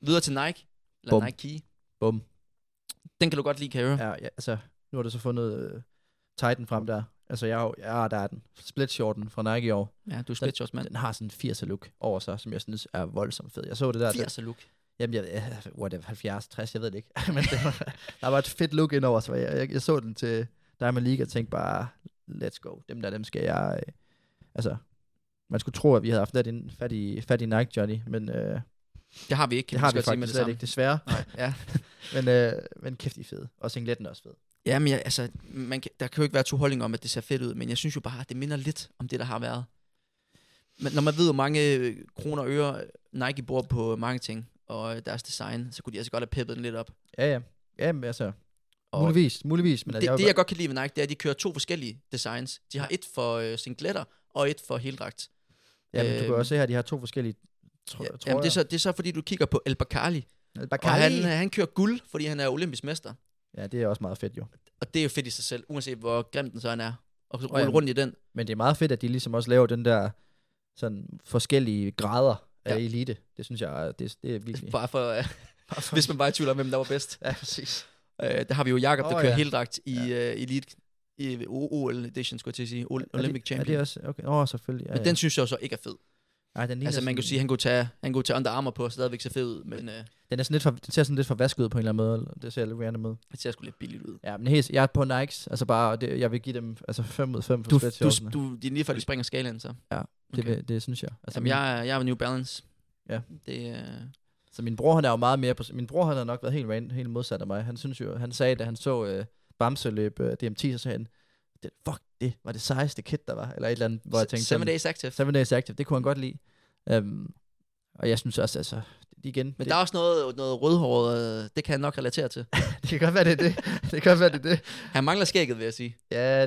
Speaker 4: Videre til Nike. Eller
Speaker 5: Bum.
Speaker 4: Nike.
Speaker 5: Bum.
Speaker 4: Den kan du godt lide, kan jeg høre.
Speaker 5: Ja, ja, altså, nu har du så fundet uh, Titan frem der. Altså, jeg, er jo- ja, der er den. Splitshorten fra Nike i år.
Speaker 4: Ja, du er splitshorts mand.
Speaker 5: Den, den har sådan en 80'er look over sig, som jeg synes er voldsomt fed. Jeg så det der.
Speaker 4: 80'er look?
Speaker 5: Jamen, jeg, jeg- whatever, 70, 60, jeg ved det ikke. Men det var, der var et fedt look indover, så jeg, jeg, jeg så den til Diamond League og tænkte bare, let's go. Dem der, dem skal jeg... øh, Altså, man skulle tro, at vi havde haft fat i, en- fat i, fat i Nike, Johnny, men... Øh,
Speaker 4: Det har vi ikke, kan
Speaker 5: Det
Speaker 4: vi
Speaker 5: har
Speaker 4: lige
Speaker 5: vi
Speaker 4: så godt sige med
Speaker 5: faktisk
Speaker 4: det
Speaker 5: slet
Speaker 4: samme.
Speaker 5: ikke, desværre.
Speaker 4: Nej, ja.
Speaker 5: men, øh, men kæft, de er fede. Og singletten er også fed.
Speaker 4: Ja, men jeg, altså, man kan, der kan jo ikke være to holdninger om, at det ser fedt ud, men jeg synes jo bare, at det minder lidt om det, der har været. Men når man ved, hvor mange øh, kroner og øre Nike bruger på marketing og øh, deres design, så kunne de altså godt have peppet den lidt op.
Speaker 5: Ja, ja. Ja, men altså...
Speaker 4: Og-
Speaker 5: muligvis, muligvis. Men
Speaker 4: Men det,
Speaker 5: altså,
Speaker 4: jeg
Speaker 5: vil
Speaker 4: det, jeg godt kan lide ved Nike, det er, at de kører to forskellige designs. De har et for øh, singletter og et for heldragt.
Speaker 5: Ja, men du kan
Speaker 4: Øhm,
Speaker 5: også se her, de har to forskellige tr- ja,
Speaker 4: Jamen, det, er så, det er så, fordi du kigger på El Bakali.
Speaker 5: El
Speaker 4: Og
Speaker 5: Bakkali.
Speaker 4: han, øh, han kører guld, fordi han er olympisk mester.
Speaker 5: Ja, det er også meget fedt jo.
Speaker 4: Og det er jo fedt i sig selv, uanset hvor grim den så end er. Og så
Speaker 5: Nå,
Speaker 4: rulle
Speaker 5: jamen.
Speaker 4: rundt i den.
Speaker 5: Men det er meget fedt, at de ligesom også laver den der sådan forskellige grader af ja. elite. Det synes jeg, er- det, det er virkelig...
Speaker 4: Bare for, øh, hvis man bare er i tvivl om, hvem der var bedst.
Speaker 5: ja, præcis.
Speaker 4: Øh, der har vi jo Jakob, der
Speaker 5: Åh,
Speaker 4: oh, kører
Speaker 5: ja.
Speaker 4: ja. heldragt i ja. uh, Elite i OL Edition, skulle jeg til at sige. Ol-
Speaker 5: er
Speaker 4: Olympic
Speaker 5: det, er
Speaker 4: Champion.
Speaker 5: det også... Okay. Åh, oh, selvfølgelig. Ja,
Speaker 4: Men
Speaker 5: ja.
Speaker 4: den synes jeg jo så ikke er fed.
Speaker 5: Ej, den ligner
Speaker 4: altså, man kan jo
Speaker 5: sådan-
Speaker 4: sige, at han kunne tage, han kunne tage Under Armour på, og stadigvæk se fed ud, men øh,
Speaker 5: Den, er sådan lidt for, den ser sådan lidt for vasket ud på en eller anden måde. eller Det ser lidt random ud.
Speaker 4: det ser sgu lidt billigt ud.
Speaker 5: Ja, men helt, jeg er på Nikes. Altså bare, det, jeg vil give dem altså 5 ud af 5 for
Speaker 4: Du, du,
Speaker 5: sweatshirtsene.
Speaker 4: du, det er lige før, de springer skalaen, så.
Speaker 5: Ja, det,
Speaker 4: Okay.
Speaker 5: vil, det synes jeg.
Speaker 4: Altså, Jamen, jeg, er- jeg er New Balance.
Speaker 5: Ja.
Speaker 4: Det, øh,
Speaker 5: Så min bror, han er jo meget mere på... Min bror, han har nok været helt, ran, helt modsat af mig. Han synes jo, han sagde, da han så øh, Bamse løb øh, DMT, så sagde han, det, fuck, det var det sejeste kit, der var. Eller et eller andet, hvor jeg
Speaker 4: Se-
Speaker 5: tænkte...
Speaker 4: Seven
Speaker 5: sådan,
Speaker 4: Days Active.
Speaker 5: Seven Days Active, det kunne han godt lide. Um, og jeg synes også, altså, det- igen...
Speaker 4: men
Speaker 5: det,
Speaker 4: der er også noget, noget rødhåret, øh, det kan han nok relatere til.
Speaker 5: det kan godt være, det er det. det kan godt være, det er det.
Speaker 4: Han mangler skægget, vil jeg sige.
Speaker 5: Ja,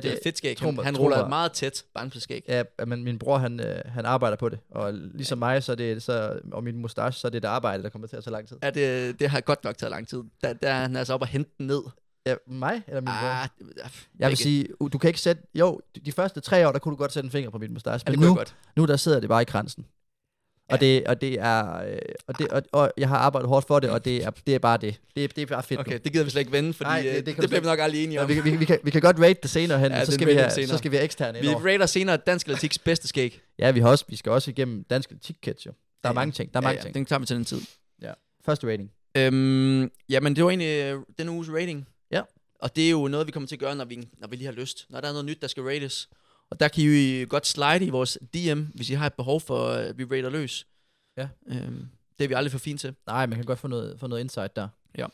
Speaker 4: det, er fedt skæg. Han, han ruller meget tæt barnflæskæg.
Speaker 5: Ja, men min bror, han, øh, han arbejder på det. Og ligesom mig, så er det, så, og min mustache, så er det et arbejde, der kommer til at tage lang tid.
Speaker 4: Ja, det, det har godt nok taget lang tid. Der, der er han altså op og hente den ned.
Speaker 5: Ja, mig eller min bror?
Speaker 4: ah, det- ja,
Speaker 5: Mm, Jeg vil
Speaker 4: begge.
Speaker 5: sige, u- du kan ikke sætte... Jo, de- de første tre år, der kunne du godt sætte en finger på min mustache.
Speaker 4: Ja, det
Speaker 5: Men
Speaker 4: kunne
Speaker 5: nu,
Speaker 4: jeg godt.
Speaker 5: nu der sidder det bare i kransen. Og, det, og det er... øh, Og, det, og, og, jeg har arbejdet hårdt for det, og det er, det er bare det. Det, er- det er bare fedt nu.
Speaker 4: Okay, det gider vi slet ikke vende, fordi
Speaker 5: Nej,
Speaker 4: Nej, det, det, det
Speaker 5: kan du
Speaker 4: bliver vi
Speaker 5: slet-
Speaker 4: nok aldrig enige
Speaker 5: Nå,
Speaker 4: om.
Speaker 5: vi, kan- vi, kan- vi, kan, vi kan godt rate det senere hen,
Speaker 4: Ja,
Speaker 5: ja, så,
Speaker 4: den
Speaker 5: skal vi
Speaker 4: rater
Speaker 5: have,
Speaker 4: vi senere.
Speaker 5: så skal vi have eksterne
Speaker 4: Vi
Speaker 5: ind over.
Speaker 4: rater senere Dansk Atletiks bedste skæg.
Speaker 5: Ja, vi, har også, vi skal også igennem dansk etik jo. Der er mange ting. Der er
Speaker 4: Ja,
Speaker 5: mange
Speaker 4: ja,
Speaker 5: ting.
Speaker 4: Den tager vi til den tid.
Speaker 5: Ja. Første rating.
Speaker 4: Øhm, jamen, det var egentlig øh, denne uges rating.
Speaker 5: Ja.
Speaker 4: Og det er jo noget, vi kommer til at gøre, når vi, når vi lige har lyst. Når der er noget nyt, der skal rates. Og der kan I jo godt slide i vores DM, hvis I har et behov for, øh, at vi rater løs.
Speaker 5: Ja.
Speaker 4: Øhm, det er vi aldrig for fint til.
Speaker 5: Nej, man kan godt få noget, få noget insight der.
Speaker 4: Ja.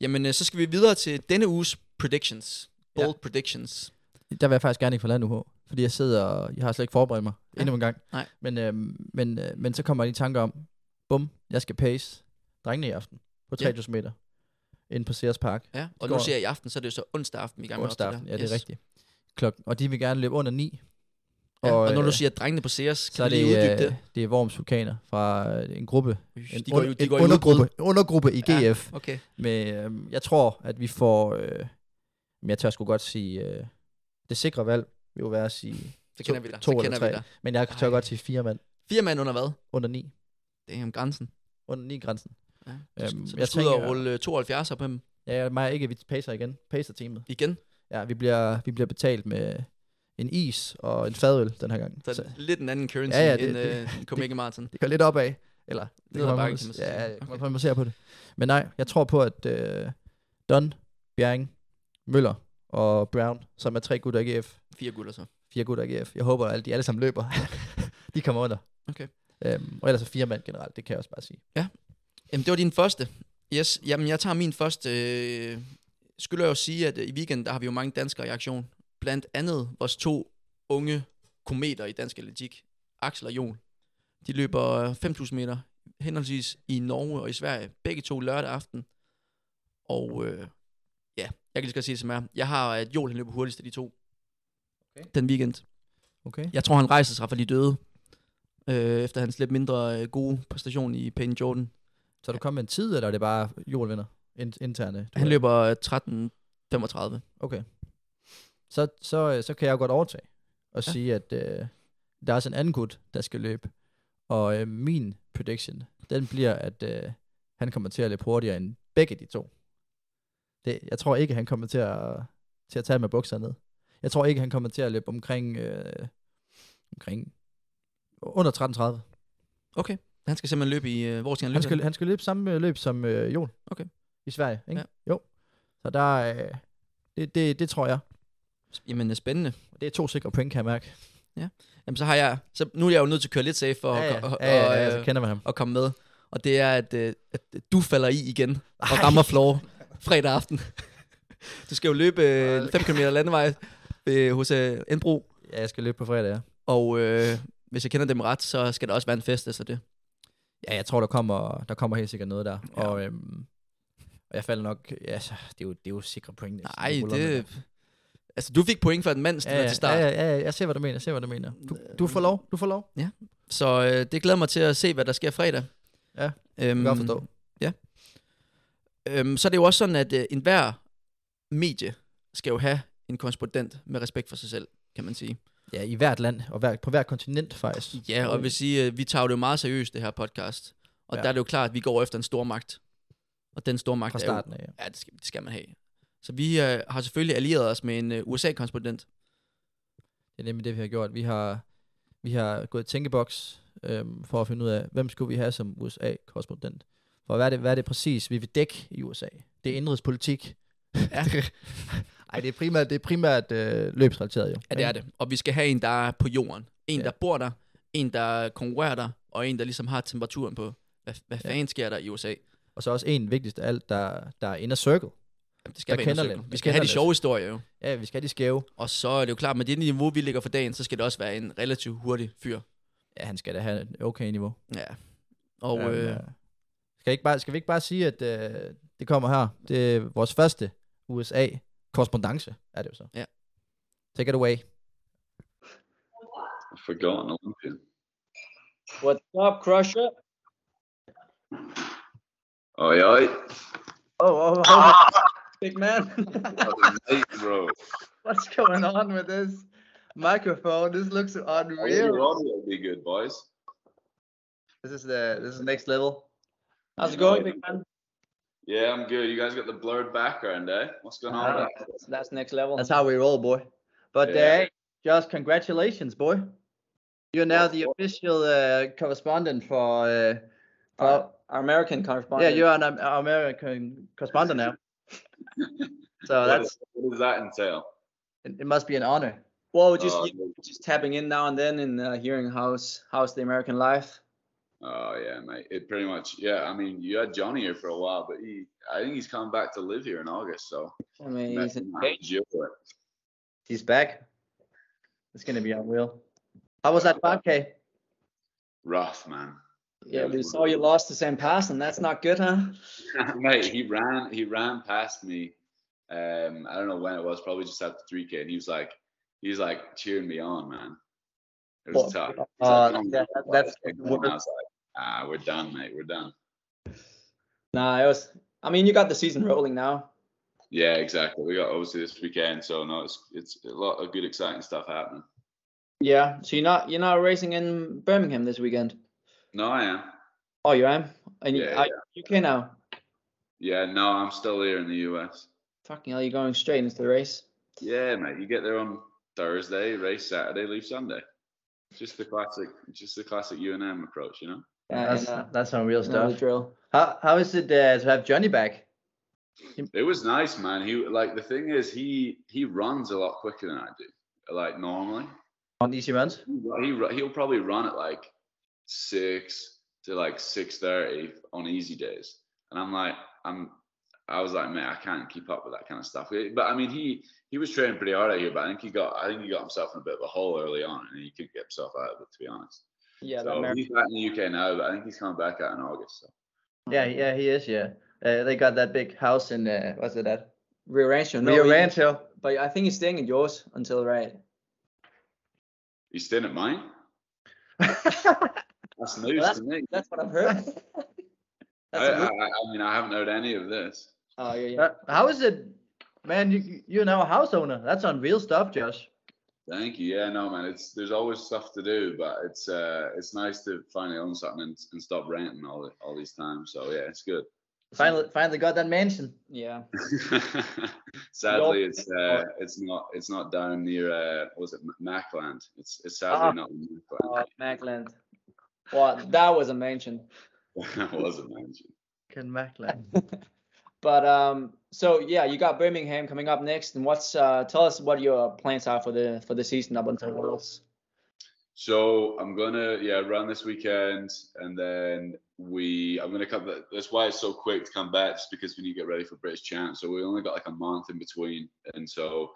Speaker 4: Jamen, øh, så skal vi videre til denne uges predictions. Bold ja. predictions.
Speaker 5: Der vil jeg faktisk gerne ikke forlade nu, fordi jeg sidder og jeg har slet ikke forberedt mig ja. endnu en gang.
Speaker 4: Nej.
Speaker 5: Men, øhm, men, øh, men så kommer jeg lige i tanke om, bum, jeg skal pace drengene i aften på
Speaker 4: Ja.
Speaker 5: 3000 meter inde på Sears Park.
Speaker 4: Ja, og
Speaker 5: Går-
Speaker 4: nu ser jeg i aften, så er det jo så onsdag aften, vi er i gang med at
Speaker 5: onsdag
Speaker 4: optage
Speaker 5: aften,
Speaker 4: her.
Speaker 5: ja, det er
Speaker 4: Yes.
Speaker 5: rigtigt. Klokken. Og de vil gerne løbe under 9.
Speaker 4: Ja, og, og når du
Speaker 5: øh,
Speaker 4: siger, at drengene på Sears, kan
Speaker 5: så
Speaker 4: så
Speaker 5: er
Speaker 4: du lige
Speaker 5: det,
Speaker 4: uddybe
Speaker 5: øh,
Speaker 4: det?
Speaker 5: det er Worms Vulkaner fra øh, en gruppe. En,
Speaker 4: de går jo- de
Speaker 5: en
Speaker 4: går i udbrud.
Speaker 5: undergruppe, en undergruppe i
Speaker 4: Ja,
Speaker 5: GF.
Speaker 4: okay.
Speaker 5: med, øhm, jeg tror, at vi får... Øh, men jeg tør sgu godt sige... Øh, det sikre valg vil jo være at sige...
Speaker 4: Så
Speaker 5: to,
Speaker 4: kender vi dig,
Speaker 5: To
Speaker 4: så
Speaker 5: eller
Speaker 4: kender vi
Speaker 5: tre.
Speaker 4: dig.
Speaker 5: Men jeg tør godt sige fire mand.
Speaker 4: Fire mand under hvad?
Speaker 5: Under ni.
Speaker 4: Damn, grænsen.
Speaker 5: Under ni grænsen.
Speaker 4: Ja.
Speaker 5: Øhm,
Speaker 4: så du
Speaker 5: jeg
Speaker 4: skal ud og
Speaker 5: tænker-
Speaker 4: rulle 72'er på dem.
Speaker 5: Ja, ja, mig og ikke, vi pacer igen. Pacer teamet.
Speaker 4: Igen?
Speaker 5: Ja, vi bliver, vi bliver betalt med en is og en fadøl den her gang.
Speaker 4: Så, lidt en anden currency
Speaker 5: Ja, ja,
Speaker 4: end
Speaker 5: det- det-
Speaker 4: øh, en Copenhagen Marathon.
Speaker 5: Det går lidt opad. Eller, det
Speaker 4: Ned ad
Speaker 5: kommer
Speaker 4: bakke,
Speaker 5: an-
Speaker 4: kan man så sige.
Speaker 5: Ja, ja, okay. man, man ser på det. Men nej, jeg tror på, at øh, Don, Bjerring, Møller og Brown, som er tre gutter i GF,
Speaker 4: Fire gutter så.
Speaker 5: fire gutter i GF. Jeg håber, at de alle sammen løber. de kommer under.
Speaker 4: Okay.
Speaker 5: Øhm, og ellers er fire mand generelt, det kan jeg også bare sige.
Speaker 4: Ja. Jamen, det var din første. Yes, jamen jeg tager min første. Øh, skylder jeg jo sige, at øh, i weekenden, der har vi jo mange danskere i aktion. Blandt andet vores to unge kometer i dansk atletik, Axel og Jon. De løber øh, 5.000 meter henholdsvis i Norge og i Sverige. Begge to lørdag aften. Og øh, ja, jeg kan lige så godt sige det som er. Jeg har, at Joel han løber hurtigst af de to. Okay. Den weekend.
Speaker 5: Okay.
Speaker 4: Jeg tror, han rejser sig fra de døde. øh, efter hans lidt mindre øh, gode præstation i Payne Jordan.
Speaker 5: Så du kom med en tid, eller er det bare Joel vinder In- interne?
Speaker 4: Han løber øh, 13.35.
Speaker 5: Okay. Så, så, øh, så kan jeg jo godt overtage og ja. sige, at øh, der er også en anden gut, der skal løbe. Og øh, min prediction, den bliver, at øh, han kommer til at løbe hurtigere end begge de to. Det, jeg tror ikke, han kommer til at, til at tage med bukserne ned. Jeg tror ikke, han kommer til at løbe omkring, øh, omkring under 13.30.
Speaker 4: Okay. Han skal simpelthen løbe i... Øh, hvor skal han løbe?
Speaker 5: Han skal,
Speaker 4: henne?
Speaker 5: han skal løbe samme øh, løb som øh, Jon.
Speaker 4: Okay.
Speaker 5: I Sverige, ikke? Ja. Jo. Så der, øh, det, det, det tror jeg.
Speaker 4: Jamen, det er spændende.
Speaker 5: Det er to sikre point, kan jeg mærke.
Speaker 4: Ja. Jamen, så har jeg... Så nu er jeg jo nødt til at køre lidt safe for
Speaker 5: Ja, ja.
Speaker 4: at, og,
Speaker 5: Ja, ja,
Speaker 4: og,
Speaker 5: ja,
Speaker 4: øh,
Speaker 5: så kender man ham.
Speaker 4: at komme med. Og det er, at, øh, at du falder i igen og rammer floor fredag aften. du skal jo løbe 5 km landevej øh, hos øh, Enbro.
Speaker 5: Ja, jeg skal løbe på fredag, ja.
Speaker 4: Og øh, hvis jeg kender dem ret, så skal der også være en fest efter det.
Speaker 5: Ja, jeg tror, der kommer, der kommer helt sikkert noget der. Ja. Og, øhm, og jeg falder nok... Ja, så, det, er jo, det er jo sikre point. næsten.
Speaker 4: Nej,
Speaker 5: ruller med
Speaker 4: det... Altså, du fik point for en mand
Speaker 5: Ja,
Speaker 4: ja, til start. Øhm,
Speaker 5: ja, ja, ja, jeg ser, hvad du mener, jeg ser, hvad du mener. Du, du får lov, du får lov.
Speaker 4: Ja. Så øh, det glæder mig til at se, hvad der sker fredag.
Speaker 5: Ja,
Speaker 4: øhm,
Speaker 5: godt forstå.
Speaker 4: Ja. Øhm, så er det jo også sådan, at øh, enhver medie skal jo have en korrespondent med respekt for sig selv, kan man sige.
Speaker 5: Ja, i hvert land, og hver, på hvert kontinent faktisk.
Speaker 4: Ja, og jeg vil sige, øh, vi tager det jo meget seriøst, det her podcast. Og
Speaker 5: Ja.
Speaker 4: ja. der er det jo klart, at vi går efter en stor magt. Og den store magt
Speaker 5: Fra starten
Speaker 4: er
Speaker 5: af,
Speaker 4: jo,
Speaker 5: ja.
Speaker 4: ja. det skal, det skal man have. Så vi øh, har selvfølgelig allieret os med en øh, USA-korrespondent.
Speaker 5: Det er nemlig det, vi har gjort. Vi har, vi har gået i tænkeboks øhm, for at finde ud af, hvem skulle vi have som USA-korrespondent. For hvad er, det, hvad er det præcis, vi vil dække i USA? Det er indrigspolitik. Ja. Ej, det er primært, det er primært øh, løbsrelateret jo.
Speaker 4: Ja, det er det. Og vi skal have en, der er på jorden. En, ja. der bor der, en, der konkurrerer der, og en, der ligesom har temperaturen på, hvad, hvad
Speaker 5: Ja.
Speaker 4: ja. fanden sker der i USA?
Speaker 5: Og så også en vigtigst af alt, der, der er inner circle.
Speaker 4: Jamen, det skal
Speaker 5: Der
Speaker 4: være
Speaker 5: kender
Speaker 4: indersøgt.
Speaker 5: lidt.
Speaker 4: Vi
Speaker 5: Der
Speaker 4: skal have
Speaker 5: kender
Speaker 4: de
Speaker 5: lidt.
Speaker 4: sjove historier jo.
Speaker 5: Ja, vi skal have de skæve.
Speaker 4: Og så er det jo klart, med det niveau, vi ligger for dagen, så skal det også være en relativt hurtig fyr.
Speaker 5: Ja, han skal da have et okay niveau.
Speaker 4: Ja. Og
Speaker 5: Jamen,
Speaker 4: øh,
Speaker 5: øh,
Speaker 16: Uh,
Speaker 5: Skal, ikke bare, skal vi ikke bare sige, at øh, det kommer her? Det er vores første USA-korrespondence, er det jo så.
Speaker 4: Ja.
Speaker 5: Take it away.
Speaker 12: I've forgotten Olympia.
Speaker 16: What's up, Crusher?
Speaker 12: Oi, oi.
Speaker 16: Oh, oh, hold on. big man.
Speaker 12: Hey, bro.
Speaker 14: What's going on with this microphone? This looks
Speaker 5: Oh,
Speaker 12: I think your
Speaker 14: unreal.
Speaker 12: audio will be good, boys.
Speaker 14: This is the this is next level. How's it going, big man?
Speaker 12: Yeah, I'm good. You guys got the blurred background, eh? What's going on?
Speaker 14: Ah,
Speaker 12: with that?
Speaker 16: That's next level.
Speaker 14: That's how we roll, boy. But uh,
Speaker 12: Yeah.
Speaker 14: hey, just congratulations, boy. You're now the official uh, correspondent for, uh, for
Speaker 16: Our American
Speaker 14: yeah,
Speaker 16: correspondent.
Speaker 14: you're an Am- American correspondent now. so
Speaker 12: What
Speaker 14: that's
Speaker 12: is- what does that entail?
Speaker 14: it, it must be an honor.
Speaker 16: Well, just
Speaker 12: Oh,
Speaker 16: you- just tapping in now and then and uh, hearing how's how's the American life.
Speaker 12: Oh yeah, mate. It pretty much. Yeah, I mean, you had Johnny here for a while, but he, I think he's coming back to live here in August. So
Speaker 16: I mean, he's in-
Speaker 14: He's back. It's gonna be unreal. How was that 5K?
Speaker 12: rough, man.
Speaker 16: yeah, we saw you lost to Sam Pass, and that's not good, huh?
Speaker 12: Mate, he ran he ran past me. Um, I don't know when it was, probably just after 3K, and he was like, he was like cheering me on, man. It
Speaker 14: Well,
Speaker 12: was tough. He's
Speaker 14: uh,
Speaker 12: like, "Come on,
Speaker 14: that-
Speaker 12: let's go,
Speaker 14: that's-
Speaker 12: let's go." And I was like, ah, we're done, mate. We're done.
Speaker 16: Nah, it was. I mean, you got the season rolling now.
Speaker 12: Yeah, exactly. We got obviously this weekend, so no, it's it's a lot of good, exciting stuff happening.
Speaker 16: Yeah. So you're not you're not racing in Birmingham this weekend.
Speaker 12: No, I am.
Speaker 16: Oh, you am. And you
Speaker 12: Yeah,
Speaker 16: are you UK now.
Speaker 12: Yeah, no, I'm still here in the US.
Speaker 16: Fucking hell, you're going straight into the race.
Speaker 12: Yeah, mate. You get there on Thursday, race Saturday, leave Sunday. Just the classic, just the classic UNM approach, you know.
Speaker 14: that's
Speaker 16: uh,
Speaker 14: that's unreal
Speaker 12: know the
Speaker 14: stuff. How how is it uh, to have Johnny back?
Speaker 12: It was nice, man. He like the thing is he he runs a lot quicker than I do. Like normally,
Speaker 14: On easy runs?
Speaker 12: he ru- he'll probably run at like six to like six thirty on easy days, and I'm like I'm I was like man, I can't keep up with that kind of stuff. But I mean he he was training pretty hard out here, but I think he got I think he got himself in a bit of a hole early on, and he couldn't get himself out of it to be honest.
Speaker 16: Yeah,
Speaker 12: So
Speaker 16: American.
Speaker 12: he's back in the UK now, but I think he's coming back out in August. So.
Speaker 14: Yeah, yeah, he is. Yeah, uh, they got that big house in uh, what's it at?
Speaker 16: Rio Rancho. No,
Speaker 14: Rio
Speaker 16: he-
Speaker 14: Rancho.
Speaker 16: But I think he's staying at yours until right.
Speaker 12: He's staying at mine. That's news
Speaker 4: Well, that's,
Speaker 12: to me.
Speaker 4: that's what I've heard.
Speaker 12: I,
Speaker 4: that's a
Speaker 12: I,
Speaker 4: good-
Speaker 12: I I mean, I haven't heard any of this.
Speaker 4: Oh yeah, yeah.
Speaker 5: Uh, how is it, man? You you're now a house owner. That's unreal stuff, Josh.
Speaker 12: Thank you. Yeah, no, man. It's there's always stuff to do, but it's uh, it's nice to finally own something and, and stop ranting all the- all these times. So yeah, it's good.
Speaker 5: Finally, finally got that mansion.
Speaker 4: Yeah.
Speaker 12: Sadly, it's uh, it's not it's not down near uh, what was it M- Mackland? It's it's sadly
Speaker 4: Ah.
Speaker 12: not in Mackland.
Speaker 4: Oh, Macland. Well, that was a mansion.
Speaker 12: it was a mansion.
Speaker 5: Ken Macklin.
Speaker 4: But um, so yeah, you got Birmingham coming up next, and what's uh, tell us what your plans are for the for the season up until Worlds.
Speaker 12: So I'm gonna yeah run this weekend, and then we I'm gonna come. back- That's why it's so quick to come back, just because we need to get ready for British Champs. So we only got like a month in between, and so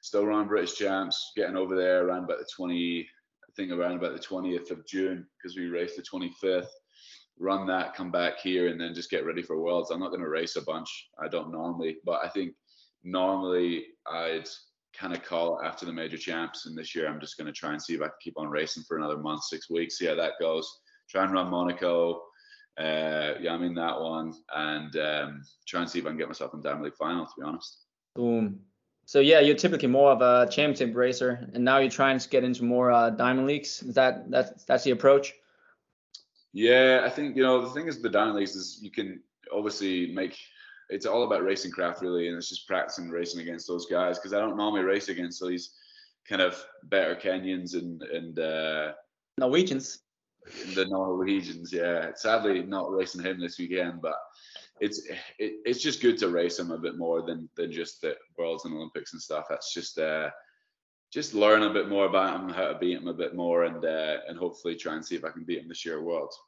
Speaker 12: still run British Champs, getting over there around about the 20, I think around about the 20th of June, because we race the 25th. Run that, come back here, and then just get ready for Worlds. I'm not gonna race a bunch. I don't normally, but I think normally I'd kind of call it after the major champs. And this year, I'm just going to try and see if I can keep on racing for another month, six weeks, see how that goes. Try and run Monaco. Uh, yeah, I'm in that one, and um, try and see if I can get myself in Diamond League final. To be honest,
Speaker 4: Boom. So yeah, you're typically more of a championship racer, and now you're trying to get into more uh, diamond leagues. Is that that's that's the approach?
Speaker 12: yeah, I think you know the thing is with the Diamond Leagues is you can obviously make. It's all about racing craft, really, and it's just practicing racing against those guys because I don't normally race against these kind of better Kenyans and and uh,
Speaker 4: Norwegians.
Speaker 12: the Norwegians. Yeah, sadly not racing him this weekend, but it's it, it's just good to race him a bit more than than just the Worlds and Olympics and stuff. That's just uh, just learn a bit more about him, how to beat him a bit more, and uh, and hopefully try and see if I can beat him this year at Worlds.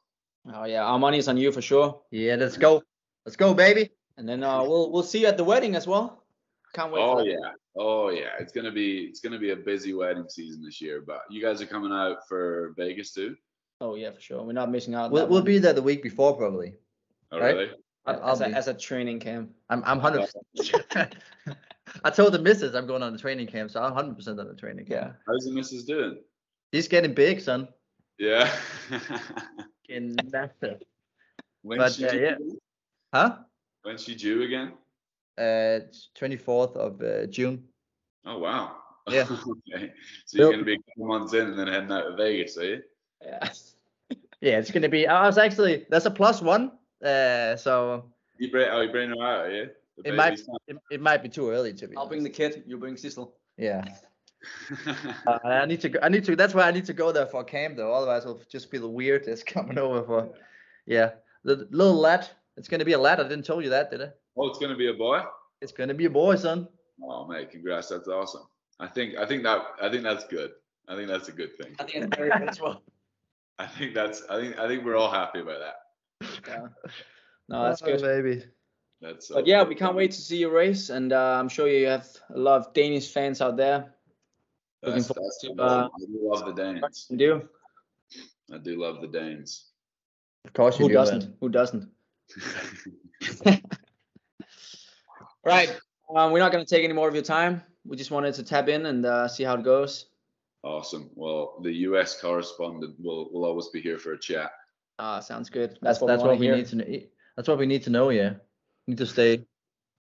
Speaker 4: Oh yeah, our money's on you for sure.
Speaker 5: Yeah, let's go, let's go, baby.
Speaker 4: And then uh, we'll we'll see you at the wedding as well. Can't wait.
Speaker 12: Oh
Speaker 4: for that.
Speaker 12: yeah, oh yeah. It's gonna be it's gonna be a busy wedding season this year. But you guys are coming out for Vegas too.
Speaker 4: Oh yeah, for sure. We're not missing out. on
Speaker 5: We'll
Speaker 4: that
Speaker 5: we'll
Speaker 4: one.
Speaker 5: be there the week before probably.
Speaker 12: Oh
Speaker 5: Right.
Speaker 12: really?
Speaker 5: I'll-
Speaker 4: as,
Speaker 5: I'll
Speaker 4: a,
Speaker 5: be.
Speaker 4: as a training camp.
Speaker 5: I'm I'm hundred. I told the missus I'm going on the training camp, so I'm hundred percent on the training camp.
Speaker 12: How's the missus doing?
Speaker 5: He's getting big, son.
Speaker 12: Yeah.
Speaker 5: Getting massive.
Speaker 12: When's
Speaker 5: But
Speaker 12: she
Speaker 5: uh,
Speaker 12: due
Speaker 5: yeah,
Speaker 12: again?
Speaker 5: huh?
Speaker 12: When's she due again?
Speaker 5: Uh, twenty fourth of uh, June.
Speaker 12: Oh wow.
Speaker 5: Yeah.
Speaker 12: okay. So you're gonna be a couple months in and then heading out to Vegas, are you?
Speaker 4: Yeah.
Speaker 5: Yeah, it's gonna be. I was actually that's a plus one. Uh, so
Speaker 12: You bring oh you bring her out, are you? The
Speaker 5: it might
Speaker 12: baby's not-
Speaker 5: it, it might be too early to be.
Speaker 4: I'll bring the kid. You bring Cecil.
Speaker 5: Yeah. Uh, I need to. go- I need to. That's why I need to go there for camp though. Otherwise, I'll just feel weird as coming over for. Yeah, the little lad. It's gonna be a lad. I didn't tell you that, did I?
Speaker 12: Oh, it's gonna be a boy?
Speaker 5: It's gonna be a boy, son.
Speaker 12: Oh mate, congrats, that's awesome. I think I think that I think that's good. I think that's a good thing.
Speaker 4: I think it's very good as well.
Speaker 12: I think that's I think I think we're all happy about that.
Speaker 4: Yeah. No, that's
Speaker 5: Oh,
Speaker 4: good.
Speaker 5: Baby.
Speaker 12: That's uh, so
Speaker 4: But yeah, we can't wait to see your race, and uh, I'm sure you have a lot of Danish fans out there. Looking
Speaker 12: that's,
Speaker 4: forward
Speaker 12: that's
Speaker 4: to
Speaker 12: the
Speaker 4: uh,
Speaker 12: one. I do love the Danes.
Speaker 4: you do.
Speaker 12: I do love the Danes.
Speaker 5: Of course you
Speaker 4: Who
Speaker 5: do.
Speaker 4: doesn't?
Speaker 5: man.
Speaker 4: Who doesn't? right. Um, we're not going to take any more of your time. We just wanted to tap in and uh, see how it goes.
Speaker 12: Awesome. Well, the US correspondent will will always be here for a chat.
Speaker 4: Uh, sounds good. That's what
Speaker 5: that's
Speaker 4: we,
Speaker 5: what
Speaker 4: wanna
Speaker 5: we
Speaker 4: hear.
Speaker 5: need to. Know. That's what we need to know. Yeah, need to stay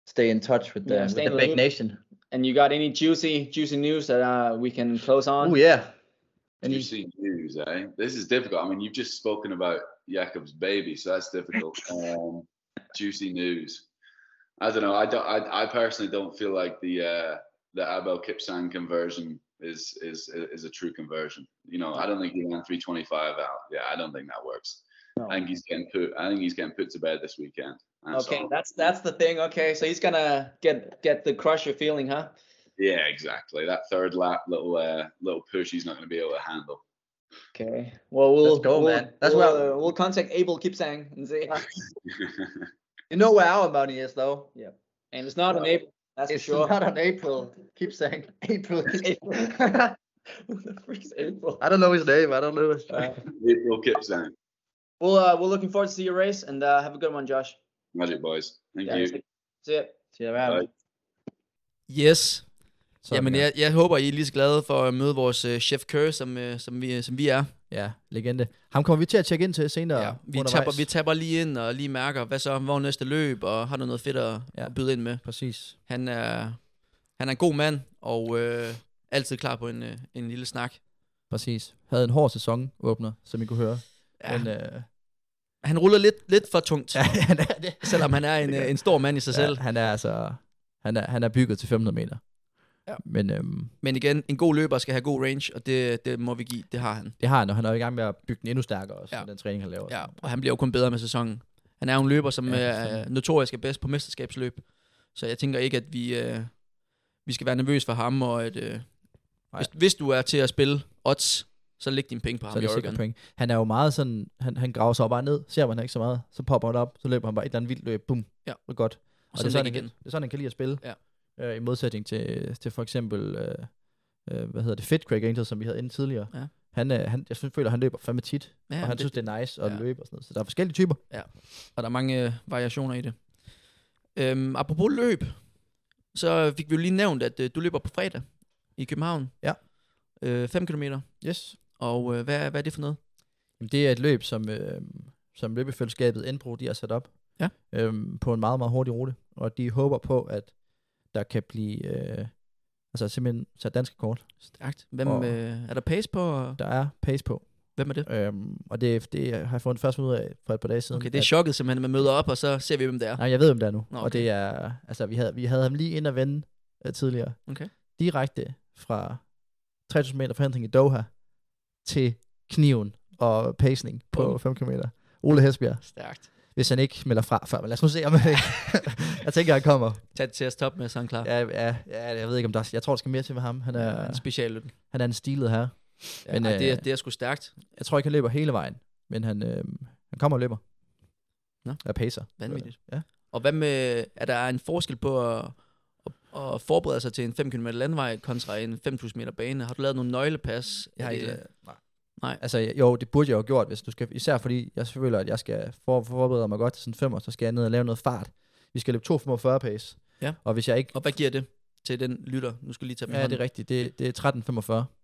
Speaker 5: stay in touch with the,
Speaker 4: Yeah,
Speaker 5: with
Speaker 4: stay
Speaker 5: the
Speaker 4: in the
Speaker 5: big
Speaker 4: loop.
Speaker 5: nation.
Speaker 4: And you got any juicy, juicy news that uh, we can close on?
Speaker 5: Oh yeah.
Speaker 12: you see news, eh? This is difficult. I mean, you've just spoken about Jakob's baby, so that's difficult. um, juicy news. I don't know. I don't. I, I personally don't feel like the uh, the Abel Kipsang conversion is is is a true conversion. You know, I don't think he ran 325 out. Yeah, I don't think that works. I think he's getting put. I think he's getting put to bed this weekend. And so-
Speaker 4: Okay, that's that's the thing. Okay, so he's gonna get get the crusher feeling, huh?
Speaker 12: yeah, exactly. That third lap little uh, little push, he's not going to be able to handle.
Speaker 4: Okay. Well, we'll
Speaker 5: Let's go,
Speaker 4: we'll,
Speaker 5: man. That's
Speaker 4: we'll,
Speaker 5: what-
Speaker 4: uh, we'll contact Abel Kipsang and see.
Speaker 5: You know where our money is though.
Speaker 4: yeah. And it's not on
Speaker 5: Well,
Speaker 4: April. That's
Speaker 5: it's
Speaker 4: for sure.
Speaker 5: not on April. Keep saying April.
Speaker 4: April. Who the freak's April?
Speaker 5: I don't know his name. I don't know. His
Speaker 4: Uh,
Speaker 12: Abel Kipsang,
Speaker 4: Well, uh, we're looking forward to see your race and uh, have a good one, Josh.
Speaker 12: Magic Boys. Thank
Speaker 4: Yeah,
Speaker 12: you.
Speaker 4: See ya.
Speaker 5: See you around.
Speaker 12: Bye.
Speaker 17: Yes.
Speaker 4: Sådan, Jamen, jeg, jeg håber, I er lige så glade for at møde vores øh, chef Kerr, som, øh, som, vi, som vi er.
Speaker 5: Ja, legende. Ham kommer vi til at tjekke ind til senere ja,
Speaker 4: Vi tapper, vi tapper lige ind og lige mærker, hvad så, hvor er næste løb, og har du noget fedt at, ja, at byde ind med.
Speaker 5: Præcis.
Speaker 4: Han er, han er en god mand, og øh, altid klar på en, øh, en lille snak.
Speaker 5: Præcis. Havde en hård sæson åbner, som I kunne høre. Ja. Men, øh,
Speaker 4: Han ruller lidt, lidt for tungt, ja, han er det. selvom han er en, øh, en stor mand i sig
Speaker 5: ja,
Speaker 4: selv.
Speaker 5: han er altså... Han er, han er bygget til 500 meter.
Speaker 4: Ja.
Speaker 5: Men øhm,
Speaker 4: Men igen, en god løber skal have god range, og det, det må vi give, det har han.
Speaker 5: det har han, og han er jo i gang med at bygge den endnu stærkere også, ja. den træning, han laver.
Speaker 4: Ja, og han bliver jo kun bedre med sæsonen. Han er jo en løber, som
Speaker 5: Ja,
Speaker 4: ja,
Speaker 5: fandme.
Speaker 4: er notorisk er bedst på mesterskabsløb. Så jeg tænker ikke, at vi, øh, vi skal være nervøs for ham. Og at, øh, hvis, hvis du er til at spille odds, så læg dine penge på ham
Speaker 5: så er
Speaker 4: i
Speaker 5: det sikkert
Speaker 4: Oregon.
Speaker 5: point. Han er jo meget sådan, han, han graver sig jo bare ned, ser man ikke så meget, så popper han op, så løber han bare et eller andet vildt løb, bum,
Speaker 4: Ja.
Speaker 5: det er godt. Og, og det,
Speaker 4: sådan
Speaker 5: er
Speaker 4: væk
Speaker 5: sådan, han,
Speaker 4: igen.
Speaker 5: det er sådan, han kan lide at spille.
Speaker 4: Ja.
Speaker 5: Øh, I modsætning til, til for eksempel, øh, øh, hvad hedder det, Fit Craig Angel, som vi havde inde tidligere.
Speaker 4: Ja.
Speaker 5: Han, øh, han, jeg synes- føler, han løber fandme tit,
Speaker 4: Ja,
Speaker 5: ja, og
Speaker 4: men
Speaker 5: han
Speaker 4: det-
Speaker 5: det, synes, det er nice at
Speaker 4: ja.
Speaker 5: ja. løbe og sådan noget. Så der er forskellige typer.
Speaker 4: Ja, og der er mange øh, variationer i det. Øhm, apropos løb, så fik vi jo lige nævnt, at øh, du løber på fredag i København.
Speaker 5: Ja.
Speaker 4: 5 øh, fem kilometer.
Speaker 5: Yes.
Speaker 4: Og øh, hvad, er- hvad er det for noget?
Speaker 5: Jamen, det er et løb, som, øh, som løbefællesskabet Enpro de har sat op
Speaker 4: Ja.
Speaker 5: øhm, på en meget, meget hurtig rute. Og de håber på, at der kan blive øh, altså simpelthen sat danske kort.
Speaker 4: Stærkt. Hvem,
Speaker 5: Og-
Speaker 4: øh, er der pace på? og-
Speaker 5: Der er pace på.
Speaker 4: Hvem er det?
Speaker 5: Øhm, og det, det har jeg fundet først ud af for et par dage siden.
Speaker 4: Okay, det er chokket simpelthen, at man møder op, og så ser vi, hvem det er.
Speaker 5: Nej, jeg ved, hvem det er nu.
Speaker 4: Nå,
Speaker 5: Okay. Og
Speaker 4: okay.
Speaker 5: det er, altså vi havde, vi havde ham lige ind og vende øh, tidligere.
Speaker 4: Okay.
Speaker 5: Direkte fra 3000 meter forhindring i Doha til kniven og pacing på 5 km. Ole Hesbjerg.
Speaker 4: Stærkt.
Speaker 5: Hvis han ikke melder fra før, men lad os nu se, om han ikke. jeg tænker, han kommer.
Speaker 4: Tag det til at stoppe med, så er han klar.
Speaker 5: Ja, øh, ja, ja, jeg ved ikke, om der Jeg tror, der skal mere til med ham. Han er,
Speaker 4: Han er en specialløb.
Speaker 5: han er en stilet øh, her.
Speaker 4: Ja, men, det, er, det er sgu stærkt.
Speaker 5: Jeg tror ikke, han løber hele vejen, men han, øh, han kommer og løber.
Speaker 4: Nå.
Speaker 5: Jeg pacer.
Speaker 4: Vanvittigt.
Speaker 5: Ja.
Speaker 4: Og hvad med, er der en forskel på at, at, at forberede sig til en 5 km landvej kontra en 5.000 meter bane? Har du lavet nogle nøglepas?
Speaker 5: Jeg har
Speaker 4: Er
Speaker 5: ikke
Speaker 4: det-
Speaker 5: lavet- nej.
Speaker 4: Nej.
Speaker 5: Altså jo, det burde jeg jo have gjort, hvis du skal, især fordi jeg føler, at jeg skal for, forberede mig godt til sådan en femmer, så skal jeg ned og lave noget fart. Vi skal løbe 2,45 pace.
Speaker 4: Ja.
Speaker 5: Og hvis jeg ikke...
Speaker 4: Og hvad giver det til den lytter? Nu skal jeg lige tage min
Speaker 5: Ja,
Speaker 4: hånd.
Speaker 5: det er rigtigt. Det, det er 13,45.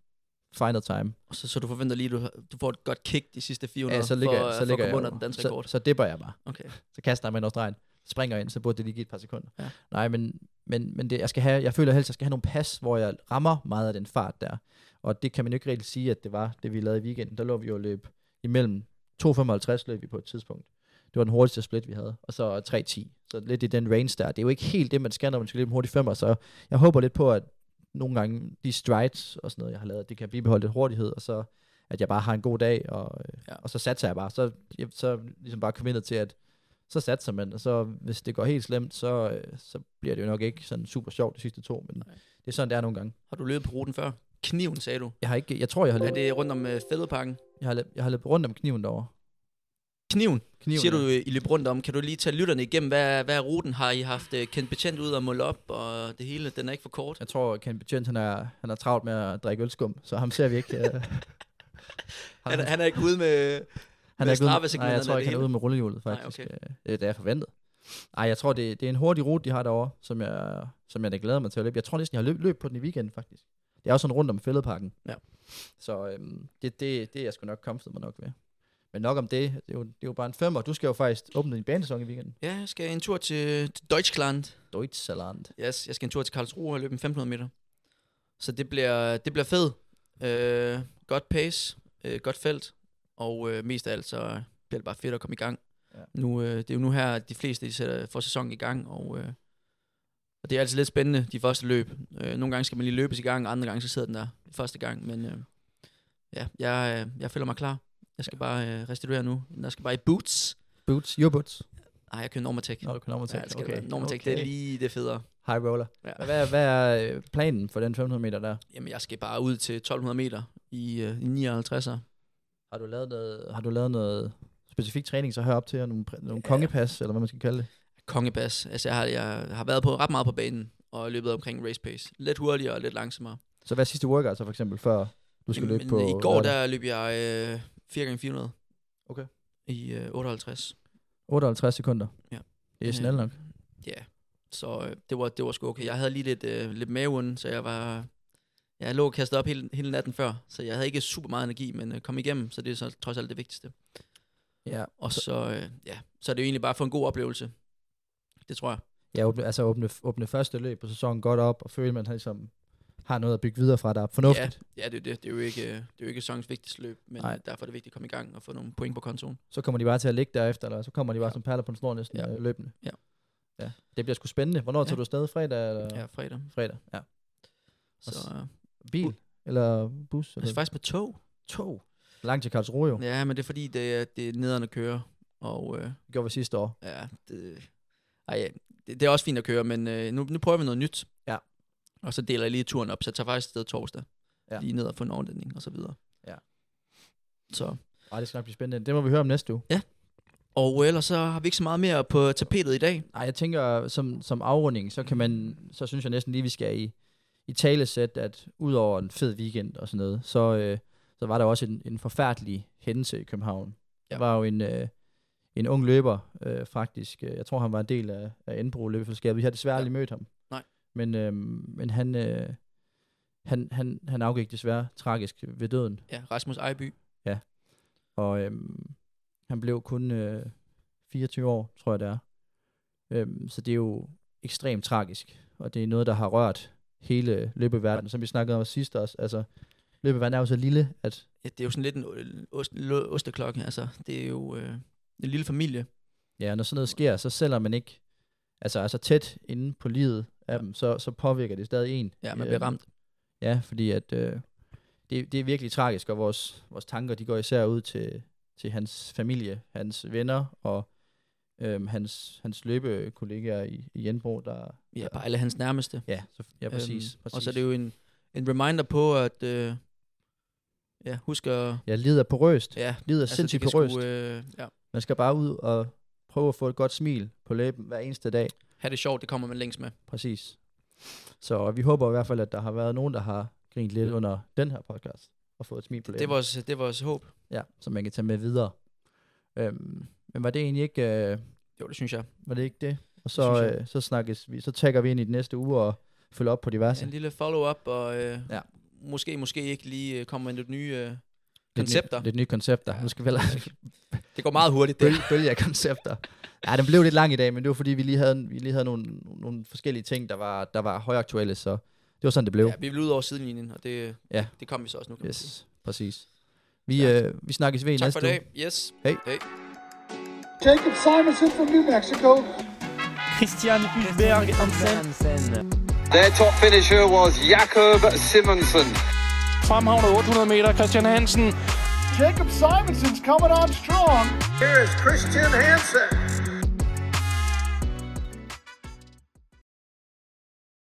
Speaker 5: Final time.
Speaker 4: Og Så, så du forventer lige, at du, du får et godt kick de sidste 400
Speaker 5: Ja, så
Speaker 4: for,
Speaker 5: ligger jeg, så
Speaker 4: for at
Speaker 5: ligger
Speaker 4: komme
Speaker 5: jeg
Speaker 4: under
Speaker 5: jo.
Speaker 4: den danske
Speaker 5: så,
Speaker 4: rekord.
Speaker 5: så dipper jeg bare.
Speaker 4: Okay.
Speaker 5: Så kaster jeg mig ind over stregen, springer ind, så burde det lige give et par sekunder.
Speaker 4: Ja.
Speaker 5: Nej, men, men, men det, jeg, skal have, jeg føler helst, at jeg skal have nogle pas, hvor jeg rammer meget af den fart der. Og det kan man jo ikke rigtig sige, at det var det, vi lavede i weekenden. Der lå vi jo og løb imellem 2,55 løb vi på et tidspunkt. Det var den hurtigste split, vi havde. Og så 3,10. Så lidt i den range der. Det er jo ikke helt det, man skal, når man skal løbe en hurtig femmer. Så jeg håber lidt på, at nogle gange de strides og sådan noget, jeg har lavet, det kan bibeholde lidt hurtighed, og så at jeg bare har en god dag, og, øh,
Speaker 4: ja.
Speaker 5: og så satser jeg bare. Så, jeg, så ligesom bare committed til, at så satser man, og så hvis det går helt slemt, så, øh, så bliver det jo nok ikke sådan super sjovt de sidste to, men Nej. det er sådan, det er nogle gange.
Speaker 4: Har du løbet på ruten før? Kniven, sagde du.
Speaker 5: Jeg har ikke, jeg tror, jeg har
Speaker 4: Er
Speaker 5: løbet,
Speaker 4: det rundt om øh, fældeparken?
Speaker 5: jeg har løbet, jeg har løbet rundt om kniven derovre.
Speaker 4: Kniven,
Speaker 5: Kniven,
Speaker 4: siger
Speaker 5: ja.
Speaker 4: du, øh, I løb rundt om. Kan du lige tage lytterne igennem? Hvad, hvad er ruten? Har I haft øh, kendt betjent ud og måle op, og det hele? Den er ikke for kort.
Speaker 5: Jeg tror, Ken Betjent, han er, han er travlt med at drikke ølskum, så ham ser vi ikke. øh,
Speaker 4: Han, han er ikke ude med, med
Speaker 5: han er ikke ude, nej,
Speaker 4: straffesegmenterne
Speaker 5: jeg tror
Speaker 4: og
Speaker 5: ikke,
Speaker 4: det
Speaker 5: han er ude
Speaker 4: hele.
Speaker 5: med rullehjulet,
Speaker 4: Nej,
Speaker 5: faktisk.
Speaker 4: okay.
Speaker 5: Øh, Det er det, jeg forventede. Nej, jeg tror, det, det er en hurtig rute, de har derovre, som jeg, som jeg da glæder mig til at løbe. Jeg tror næsten, jeg har løbet løb på den i weekenden, faktisk. Det er også sådan rundt om fældeparken.
Speaker 4: Ja.
Speaker 5: Så øhm, det, det, det er jeg sgu nok komfet mig nok ved. Men nok om det, det er jo, det er jo bare en femmer. Du skal jo faktisk åbne din banesæson i weekenden.
Speaker 4: Ja, jeg skal en tur til, til Deutschland.
Speaker 5: Deutschland.
Speaker 4: Yes, jeg skal en tur til Karlsruhe og løbe en 1500 meter. Så det bliver, det bliver fedt. Øh, godt pace, øh, godt felt, og øh, mest af alt så bliver det bare fedt at komme i gang.
Speaker 5: Ja.
Speaker 4: Ja. Nu, øh, det er jo nu her, at de fleste de sætter, får sæsonen i gang, og, øh, og det er altid lidt spændende, de første løb. Øh, nogle gange skal man lige løbes i gang, og andre gange så sidder den der første gang, men øh, ja, jeg, øh, jeg føler mig klar. Jeg skal ja. bare øh, restituere nu. Jeg skal bare i boots.
Speaker 5: Boots, your boots.
Speaker 4: Nej, jeg kører Normatec.
Speaker 5: Nå, du kører Normatec.
Speaker 4: Ja, det skal
Speaker 5: Okay,
Speaker 4: okay. Normatec, okay. det
Speaker 5: okay.
Speaker 4: er lige det federe.
Speaker 5: High roller.
Speaker 4: Ja.
Speaker 5: Ja. Hvad, hvad er øh, planen for den 500 meter der?
Speaker 4: Jamen, jeg skal bare ud til 1200 meter i, øh, i 59'er.
Speaker 5: Har du lavet noget, har du lavet noget specifik træning så herop til, og nogle, pr- nogle kongepas, eller hvad man skal kalde det?
Speaker 4: Kongebas. Altså, jeg har, jeg har været på ret meget på banen og løbet omkring race pace. Lidt hurtigere og lidt langsommere.
Speaker 5: Så hvad er sidste workout så for eksempel, før du skal
Speaker 4: Jamen,
Speaker 5: løbe på...
Speaker 4: I går,
Speaker 5: lørdag?
Speaker 4: der løb jeg øh, 4x400.
Speaker 5: Okay.
Speaker 4: I øh, 58.
Speaker 5: 58 sekunder.
Speaker 4: Ja.
Speaker 5: Det er snel nok.
Speaker 4: Ja. Så øh, det, var, det var sgu okay. Jeg havde lige lidt, øh, lidt maveonde, så jeg var... Jeg lå kastet op hele, hele natten før, så jeg havde ikke super meget energi, men øh, kom igennem, så det er så trods alt det vigtigste.
Speaker 5: Ja.
Speaker 4: Og så, øh, ja, så er det jo egentlig bare for en god oplevelse. Det tror jeg.
Speaker 5: Ja, åbne, altså åbne, åbne første løb på sæsonen godt op, og føle, at man har ligesom har noget at bygge videre fra der. Fornuftigt.
Speaker 4: Ja, ja det, er det, det, er jo ikke, øh, det er jo ikke sæsonens vigtigste løb, men
Speaker 5: Nej.
Speaker 4: Nej. derfor er det vigtigt at komme i gang og få nogle point på kontoen.
Speaker 5: Så kommer de bare til at ligge derefter, eller så kommer de bare ja. som perler på en snor næsten ja. løbende.
Speaker 4: Ja.
Speaker 5: ja. Det bliver sgu spændende. Hvornår ja. tager du afsted? Fredag? Eller?
Speaker 4: Ja, fredag.
Speaker 5: Fredag, ja.
Speaker 4: Så,
Speaker 5: s-
Speaker 4: øh,
Speaker 5: Bil? Eller bus?
Speaker 4: Altså
Speaker 5: Eller?
Speaker 4: faktisk med tog.
Speaker 5: Tog? Langt til Karlsruhe jo.
Speaker 4: Ja, men det er fordi, det, er- det er nederen at køre. Og, øh,
Speaker 5: det gjorde vi sidste år.
Speaker 4: Ja, det, ej, ja, det, det er også fint at køre, men øh, nu, nu prøver vi noget nyt.
Speaker 5: Ja.
Speaker 4: Og så deler jeg lige turen op, så jeg tager faktisk sted torsdag.
Speaker 5: Ja.
Speaker 4: Ja. Lige ned og få en overdækning og så videre.
Speaker 5: Ja.
Speaker 4: Så.
Speaker 5: Ej, det skal nok blive spændende. Det må vi høre om næste uge.
Speaker 4: Ja. Og øh, ellers så har vi ikke så meget mere på tapetet i dag.
Speaker 5: Nej, jeg tænker, som, som afrunding, så kan man, så synes jeg næsten lige, vi skal i, i talesæt, at udover en fed weekend og sådan noget, så, øh, så var der også en, en forfærdelig hændelse i København. Ja. Der var jo en, øh, en ung løber, øh, faktisk. Øh, Jeg tror, han var en del af, af Indbro Løbeforskabet. Vi har desværre aldrig mødt ham.
Speaker 4: Nej.
Speaker 5: Men, øh, men han, øh, han, han, han afgik desværre tragisk ved døden.
Speaker 4: Ja, Rasmus Ejby.
Speaker 5: Ja. Og øhm, han blev kun øh, 24 år, tror jeg det er. Øhm, så det er jo ekstremt tragisk. Og det er noget, der har rørt hele løbeverdenen, som vi snakkede om sidst også. Altså, løbeverdenen er jo så lille, at
Speaker 4: Ja, det er jo sådan lidt en o- ost, lo- osteklokke. Altså, det er jo øh, en lille familie.
Speaker 5: ja, når sådan noget sker, så selvom man ikke altså, er så tæt inde på livet af dem, så, så påvirker det stadig en. Øhm,
Speaker 4: Ja, man bliver ramt.
Speaker 5: Ja, fordi at, øh, det, det er virkelig tragisk, og vores, vores tanker de går især ud til, til hans familie, hans venner og øhm, hans, hans løbekollegaer i, i Jernbro, der...
Speaker 4: Ja, bare alle hans nærmeste.
Speaker 5: Ja, så, ja præcis,
Speaker 4: Øhm,
Speaker 5: præcis.
Speaker 4: Og så er det jo en, en reminder på, at øh, ja, husk at...
Speaker 5: Jeg lider på røst.
Speaker 4: Ja,
Speaker 5: lider
Speaker 4: altså,
Speaker 5: altså,
Speaker 4: det
Speaker 5: sindssygt på
Speaker 4: kan sgu,
Speaker 5: røst.
Speaker 4: øh, ja.
Speaker 5: Man skal bare ud og prøve at få et godt smil på læben hver eneste dag.
Speaker 4: have det sjovt, det kommer man længst med.
Speaker 5: Præcis. Så vi håber i hvert fald, at der har været nogen, der har grint lidt under den her podcast og fået et smil på
Speaker 4: Mm.
Speaker 5: læben.
Speaker 4: Det er vores, det er vores håb.
Speaker 5: Ja, som man kan tage med videre. Øhm, men var det egentlig ikke... Øh,
Speaker 4: jo, det synes jeg.
Speaker 5: Var det ikke det? Og
Speaker 4: Det
Speaker 5: så,
Speaker 4: synes jeg.
Speaker 5: øh, så snakkes vi, så tagger vi ind i den næste uge og følger op på diverse.
Speaker 4: Altså, En lille follow-up, og øh,
Speaker 5: ja.
Speaker 4: måske, måske ikke lige øh, kommer med lidt nye øh,
Speaker 5: Lidt nye-
Speaker 4: koncepter.
Speaker 5: Lidt nye koncepter. Ja. Nu skal vi heller-
Speaker 4: Det går meget hurtigt, det.
Speaker 5: Bøl- Bølge af koncepter. Ja, den blev lidt lang i dag, men det var fordi, vi lige havde, vi lige havde nogle, nogle forskellige ting, der var, der var højaktuelle, så det var sådan, det blev.
Speaker 4: Ja, vi vil ud over sidelinjen, og det,
Speaker 5: Ja.
Speaker 4: ja. det kom vi så også nu. Kan man sige.
Speaker 5: Yes, præcis. Vi, øh, vi snakkes ved i
Speaker 4: Tak
Speaker 5: næste
Speaker 4: for i dag.
Speaker 5: uge.
Speaker 4: Yes.
Speaker 5: Hej.
Speaker 4: Hej.
Speaker 1: Jacob Simonson from New Mexico.
Speaker 2: Christian Hulberg Hansen.
Speaker 3: Their top finisher was Jakob Simonsen.
Speaker 2: Fremhavne 800 meter, Christian Hansen.
Speaker 1: Jacob Simonson's coming on strong. Here is Christian Hansen.